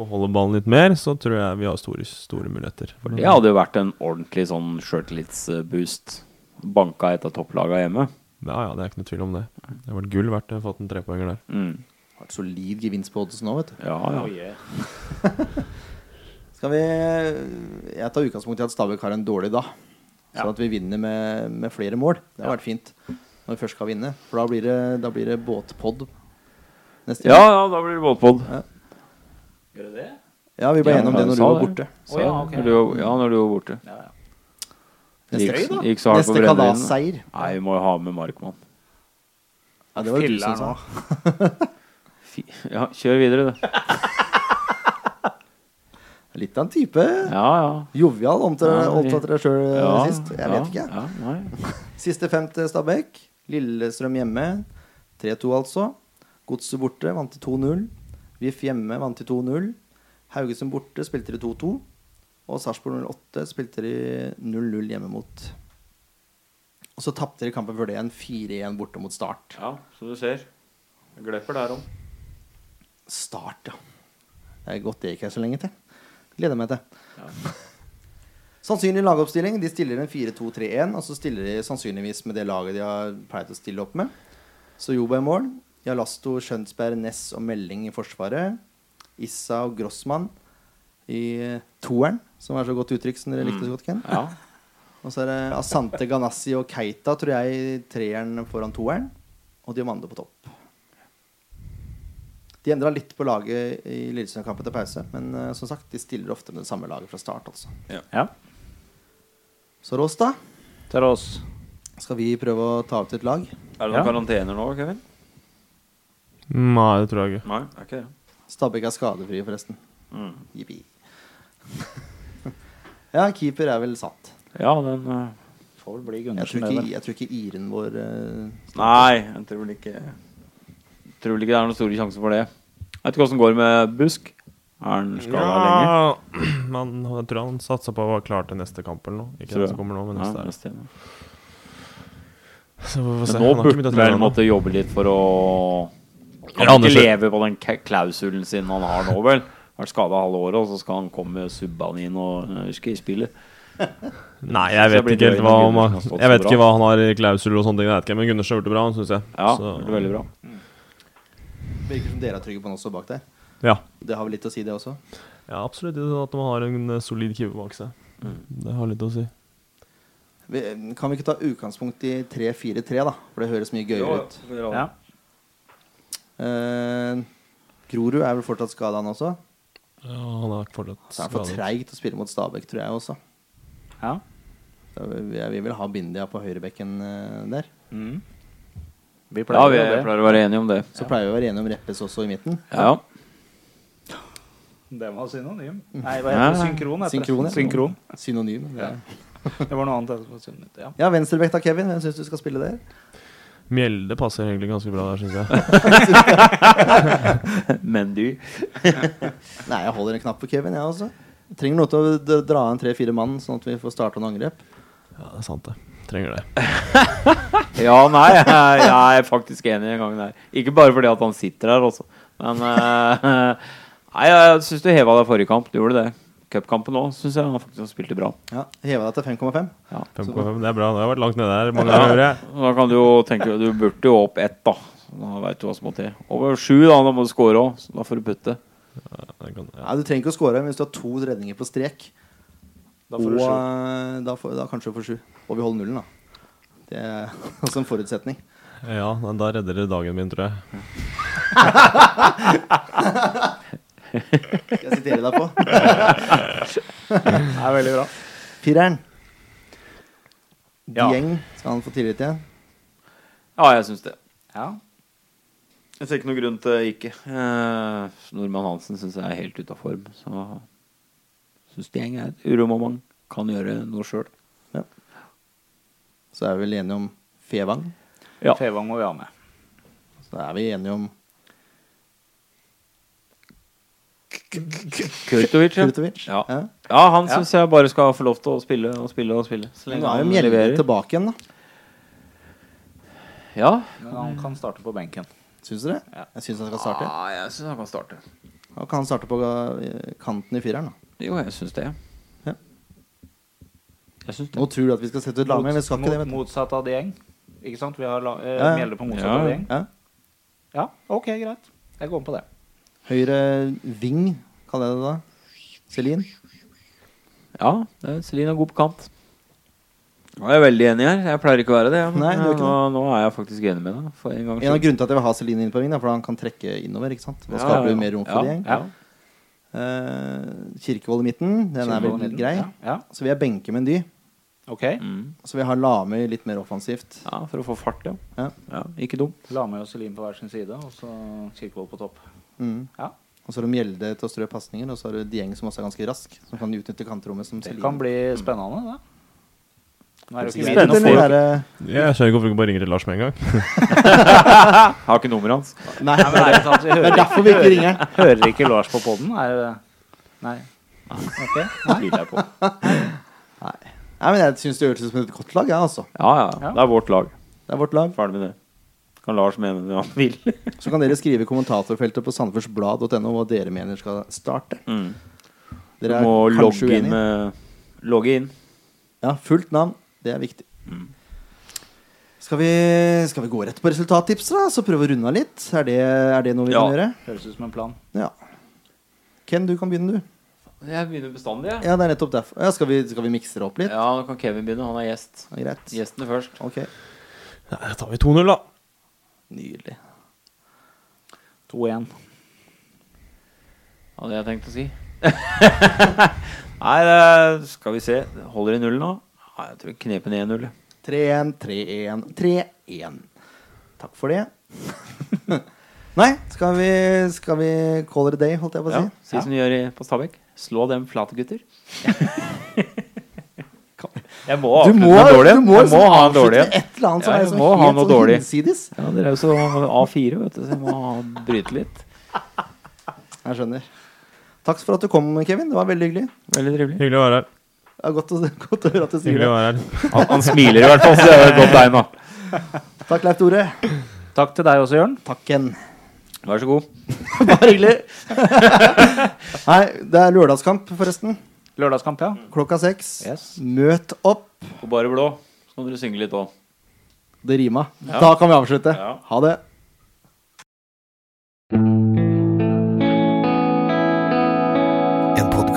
beholde ballen litt mer, så tror jeg vi har store, store muligheter. For
Det hadde jo vært en ordentlig sånn sjøltillitsboost. Banka et av topplagene hjemme.
Ja, ja, det er ikke noe tvil om det. Det har vært gull verdt å ha fått en trepoenger der.
Mm.
Har et solid gevinst på oddsen nå, vet du.
Ja, ja.
Skal vi Jeg tar utgangspunkt i at Stabæk har en dårlig dag. Sånn at vi vinner med, med flere mål. Det har vært fint når vi først skal vinne. For da blir det, da blir det båtpod neste
Ja,
gang.
ja, da blir det båtpod.
Gjør det det?
Ja, vi ble
Ja,
gjennom
ja,
det
sa
når du var
det.
borte.
Så,
Å, ja, ok.
når du, var- ja, når du var borte.
Ja, ja.
Neste,
Gikk- gikk så hardt på
neste
bredden.
kalasseier.
Nei, vi må jo ha med Markmann.
Ja, det var jo du som
Filler
sa.
Fy- Ja, kjør videre, du.
Litt av en type.
Ja, ja.
Jovial omtalte
Ja,
omtalte deg sjøl
ja
sist. Jeg vet ikke.
Ja, nei.
Siste fem til Stabæk. Lillestrøm hjemme. 3-2, altså. Godset borte, vant til 2-0. VIF hjemme, vant til 2-0. Haugesund borte, spilte de 2-2. Og Sarpsborg 08 spilte de 0-0 hjemme mot. Og så tapte de kampen før det igjen 4-1 borte mot Start.
ja, så du ser. Jeg glipper der om.
Start, ja. Det er godt det ikke er så lenge til. Gleder meg til. Sannsynlig lagoppstilling. De stiller en 4-2-3-1, og så stiller de sannsynligvis med det laget de har pleid å stille opp med. Så Joba i mål. Jalasto, Skjønsberg, Ness og Melding i forsvaret. Issa og Grossmann i eh, toeren, som er så godt uttrykk som dere likte så godt, Ken.
Ja.
Og så er det Asante Ganassi og Keita, tror jeg, i treeren foran toeren. Og Diomando på topp. De endra litt på laget i Lillestrøm-kampen til pause, men eh, som sagt, de stiller ofte med det samme laget fra start, altså.
ja.
Så Rås, da.
Til oss.
Skal vi prøve å ta ut et lag?
Er det noen
Ja.
karantener nå, Kevin?
Nei, det tror jeg ikke.
Nei, er ikke det.
Stabæk er skadefrie, forresten.
Mm.
Jippi. Ja, keeper er vel satt.
Ja, den eh,
Får vel bli
Jeg tror
Gundersen, det
ikke,
vel.
jeg tror ikke iren vår eh,
Nei, jeg tror vel ikke Tror vel ikke det er noen store sjanser for det. Jeg vet ikke åssen det går med Busk. Er han skada lenge?
men jeg tror han satsa på å være klar til neste kamp eller noe. Ikke
Tror
den
jeg.
som kommer nå, men
Ja,
neste. er.
neste igjen, ja.
Så vi får se.
Men nå
Han har
burde
ikke begynt å
han
trene
vel
ennå.
måtte jobbe litt for å Kan
Ja,
ikke
Anders-
leve på den ka- klausulen sin han har nå, vel. Vært skada halve året, og så skal han komme med Subbanin og øh, skal i spillet.
Nei,
Så jeg
jeg vet
blir
ikke helt
nøyd
hva
når
han
Gundersen har stått
Jeg
så
vet ikke
bra.
hva han har i klausul og sånne ting, jeg vet ikke, men Gundersen har gjort det bra, syns jeg.
Ja,
Så-
det blir veldig bra.
Virker som dere er trygge på han også bak der.
Ja.
Det har vel litt å si, det også.
ja, absolutt. Det er sånn at man har en eh, solid keeper bak seg.
Mm.
Det har litt å si.
Vi, kan vi ikke ta utgangspunkt i 3-4-3, da? For det høres mye gøyere ut.
Ja.
Eh, Grorud er vel fortsatt skada, han også.
Ja, han er fortsatt
Så er det for
skadet.
treigt å spille mot Stabæk, tror jeg også.
ja.
Så Jeg vil vel ha Bindia på høyrebekken eh, der.
Mm. Vi
Ja,
pleier
vi
jo det.
pleier å være enige om det.
Så pleier vi å være enige om Reppes også i midten.
Ja.
Det var synonym. Nei, hva
Ja.
heter det? Synkron. Heter
Synkron, ja.
det. Synkron.
Synonym. det er-
Det var noe annet. enn på synonym, Ja.
Ja, venstrebekk da, Kevin. Hvem syns du skal spille der?
Mjelde passer egentlig ganske bra der, syns jeg.
Men du
Nei, jeg holder en knapp på Kevin, jeg også. Trenger noe til å d- dra inn tre-fire mann, sånn at vi får starta noen angrep.
Ja, det er sant, det. Trenger det.
Ja, nei, jeg, jeg er faktisk enig en gang der. Ikke bare fordi at han sitter her, også. Men eh, Nei, jeg syns du heva deg forrige kamp. Du gjorde det. Cupkampen òg syns jeg han faktisk spilte bra.
Ja, Heva deg til 5,5.
5,5, det er bra. Det har vært langt nede der mange ganger. jeg.
Da kan du jo tenke Du burde jo opp ett, da. Så Da veit du hva som må til. Over sju, da. Da må du score òg. Så da får du putte.
Det kan- ja.
Nei, du trenger ikke å score hvis du har to redninger på strek.
Da får du
og
sju.
eh, da, får, da kanskje du får sju. Og vi holder nullen, da. Det er også en forutsetning.
Ja, men da redder det dagen min, tror jeg.
Skal jeg sitere deg på?
Det er veldig bra.
Fireren.
Ja.
Dieng skal han få tillit til.
Ja, jeg syns det.
Ja.
Jeg ser ikke noen grunn til ikke. Eh, Nordmann Hansen syns jeg er helt ute av form. Så syns det er et uromoment. Kan gjøre noe sjøl.
Ja. Så er vi vel enige om Fevang.
Ja.
Fevang må vi ha med.
Så er vi enige om
Kurtovic, ja.
Kurtovic.
Ja.
Ja.
Ja, han syns jeg bare skal få lov til å spille og spille og spille. Så
Men Nå er jo Mjelde tilbake igjen, da.
Ja.
Men han kan starte på benken.
Syns dere? Jeg syns han skal starte.
Ah, jeg syns han kan starte.
Da kan han starte på eh, kanten i fireren, da.
Jo, jeg syns det.
Ja.
Jeg syns
Nå
det.
tror du at vi skal sette ut Lamé, men vi skal ikke det.
mot,
vet du.
motsatt av Dieng. Ikke sant? Vi har la, eh,
Ja, ja.
Mjelde på motsatt
Ja.
av Dieng.
Ja.
Ja, ok, greit. Jeg går med på det.
Høyre ving, kaller jeg det da. Celine.
Ja, det er Celine er god på kant. Nå er jeg veldig enig her. Jeg pleier ikke å være det. Men eh,
Nei, du er ikke
nå, nå er jeg faktisk enig med deg. For en gangs
En av
skyld.
grunnene til at jeg vil ha Celine inn på vingen, er fordi han kan trekke innover. ikke sant? Da
Ja,
skaper
ja, ja.
du mer rom
Ja,
for Dieng.
Ja.
Eh, Kirkevold i midten, den er
Kirkevold i
vel
midten,
grei.
ja, ja.
Så vil jeg benke Mendy.
Ok.
Mm.
Så vil jeg ha Lame litt mer offensivt.
Ja, for å få fart, ja.
Ja.
ja ikke dum.
La meg og Celine på hver sin side, og så Kirkevold på topp.
Mm.
Ja.
Og så har du Mjelde til å strø pasninger, og så har du Dieng som også er ganske rask. Som kan utnytte kantrommet som
Det
Celine.
kan bli spennende, det. Nå er det jo ikke
Spennende,
vi- nå får jo
eller er det-
Jeg skjønner ikke hvorfor du ikke bare ringer til Lars med en gang.
Jeg har ikke nummeret hans.
Nei,
Nei, men er det sant? Vi
det er
hører,
derfor vi ikke ringer den.
hører ikke Lars på poden? Er det Nei. Ok. Nei.
Tviler jeg på.
Nei, men Jeg syns det høres ut som et godt lag, jeg, altså.
Ja, ja.
Ja.
Det er vårt lag.
Det er vårt lag.
Ferdig med det. Kan Lars mene det han vil.
Så kan dere skrive i kommentatorfeltet på sandefjordsblad.no hva dere mener skal starte.
Mm. Du
Dere er
må
kanskje
logge inn
eh,
uenige.
med Logge inn.
Ja, fullt navn. Det er viktig. Skal vi, skal vi gå rett på resultattips, da? Så prøve å runde av litt? Er det, er det noe vi
Ja.
kan gjøre?
Høres ut som en plan.
Ja. Ken, du kan begynne, du.
Jeg begynner bestandig, jeg.
Ja, det er nettopp derfor. Ja, skal, vi, skal vi mikse det opp litt?
Ja, nå kan Kevin begynne. Han er gjest.
Ja, greit.
Gjestene først.
Ok.
Nei, da tar vi 2-0, da.
Nydelig.
2-1.
Hadde jeg tenkt å si. Nei, det skal vi se. Holder i nullen nå? Nei, jeg tror knepen er 1-0.
3-1, 3-1, 3-1. Takk for det. Nei, skal vi, skal vi call it a day, holdt jeg på å
Ja,
si?
si som de gjør i- på Stabæk. Slå dem flate, gutter. Jeg må
Du
avslutte
må,
den dårlige.
du
jeg må
må, sånn
liksom ha en
avslutte
dårlig en.
et eller annet som
Ja,
er
jeg
sånn
må ha noe
helt sånn
dårlig.
hinsides.
Ja, dere er jo så A4, vet du, så jeg må ha- bryte litt.
Jeg skjønner. Takk for at du kom, Kevin. Det var veldig hyggelig.
Veldig trivelig.
Hyggelig å være her.
Det er godt å, godt å høre at du sier
Hyggelig
det.
å være her.
Han, han smiler i hvert fall, så det er jo et godt tegn, da.
Takk, Leif Tore.
Takk til deg også, Jørn.
Takk igjen.
Vær så god.
Bare hyggelig. Nei, det er lørdagskamp, forresten.
Lørdagskamp, ja.
Klokka seks.
Yes.
Møt opp.
Og bare blå. Så kan dere synge litt òg.
Det rima. Da kan vi avslutte.
Ja.
Ha det.
En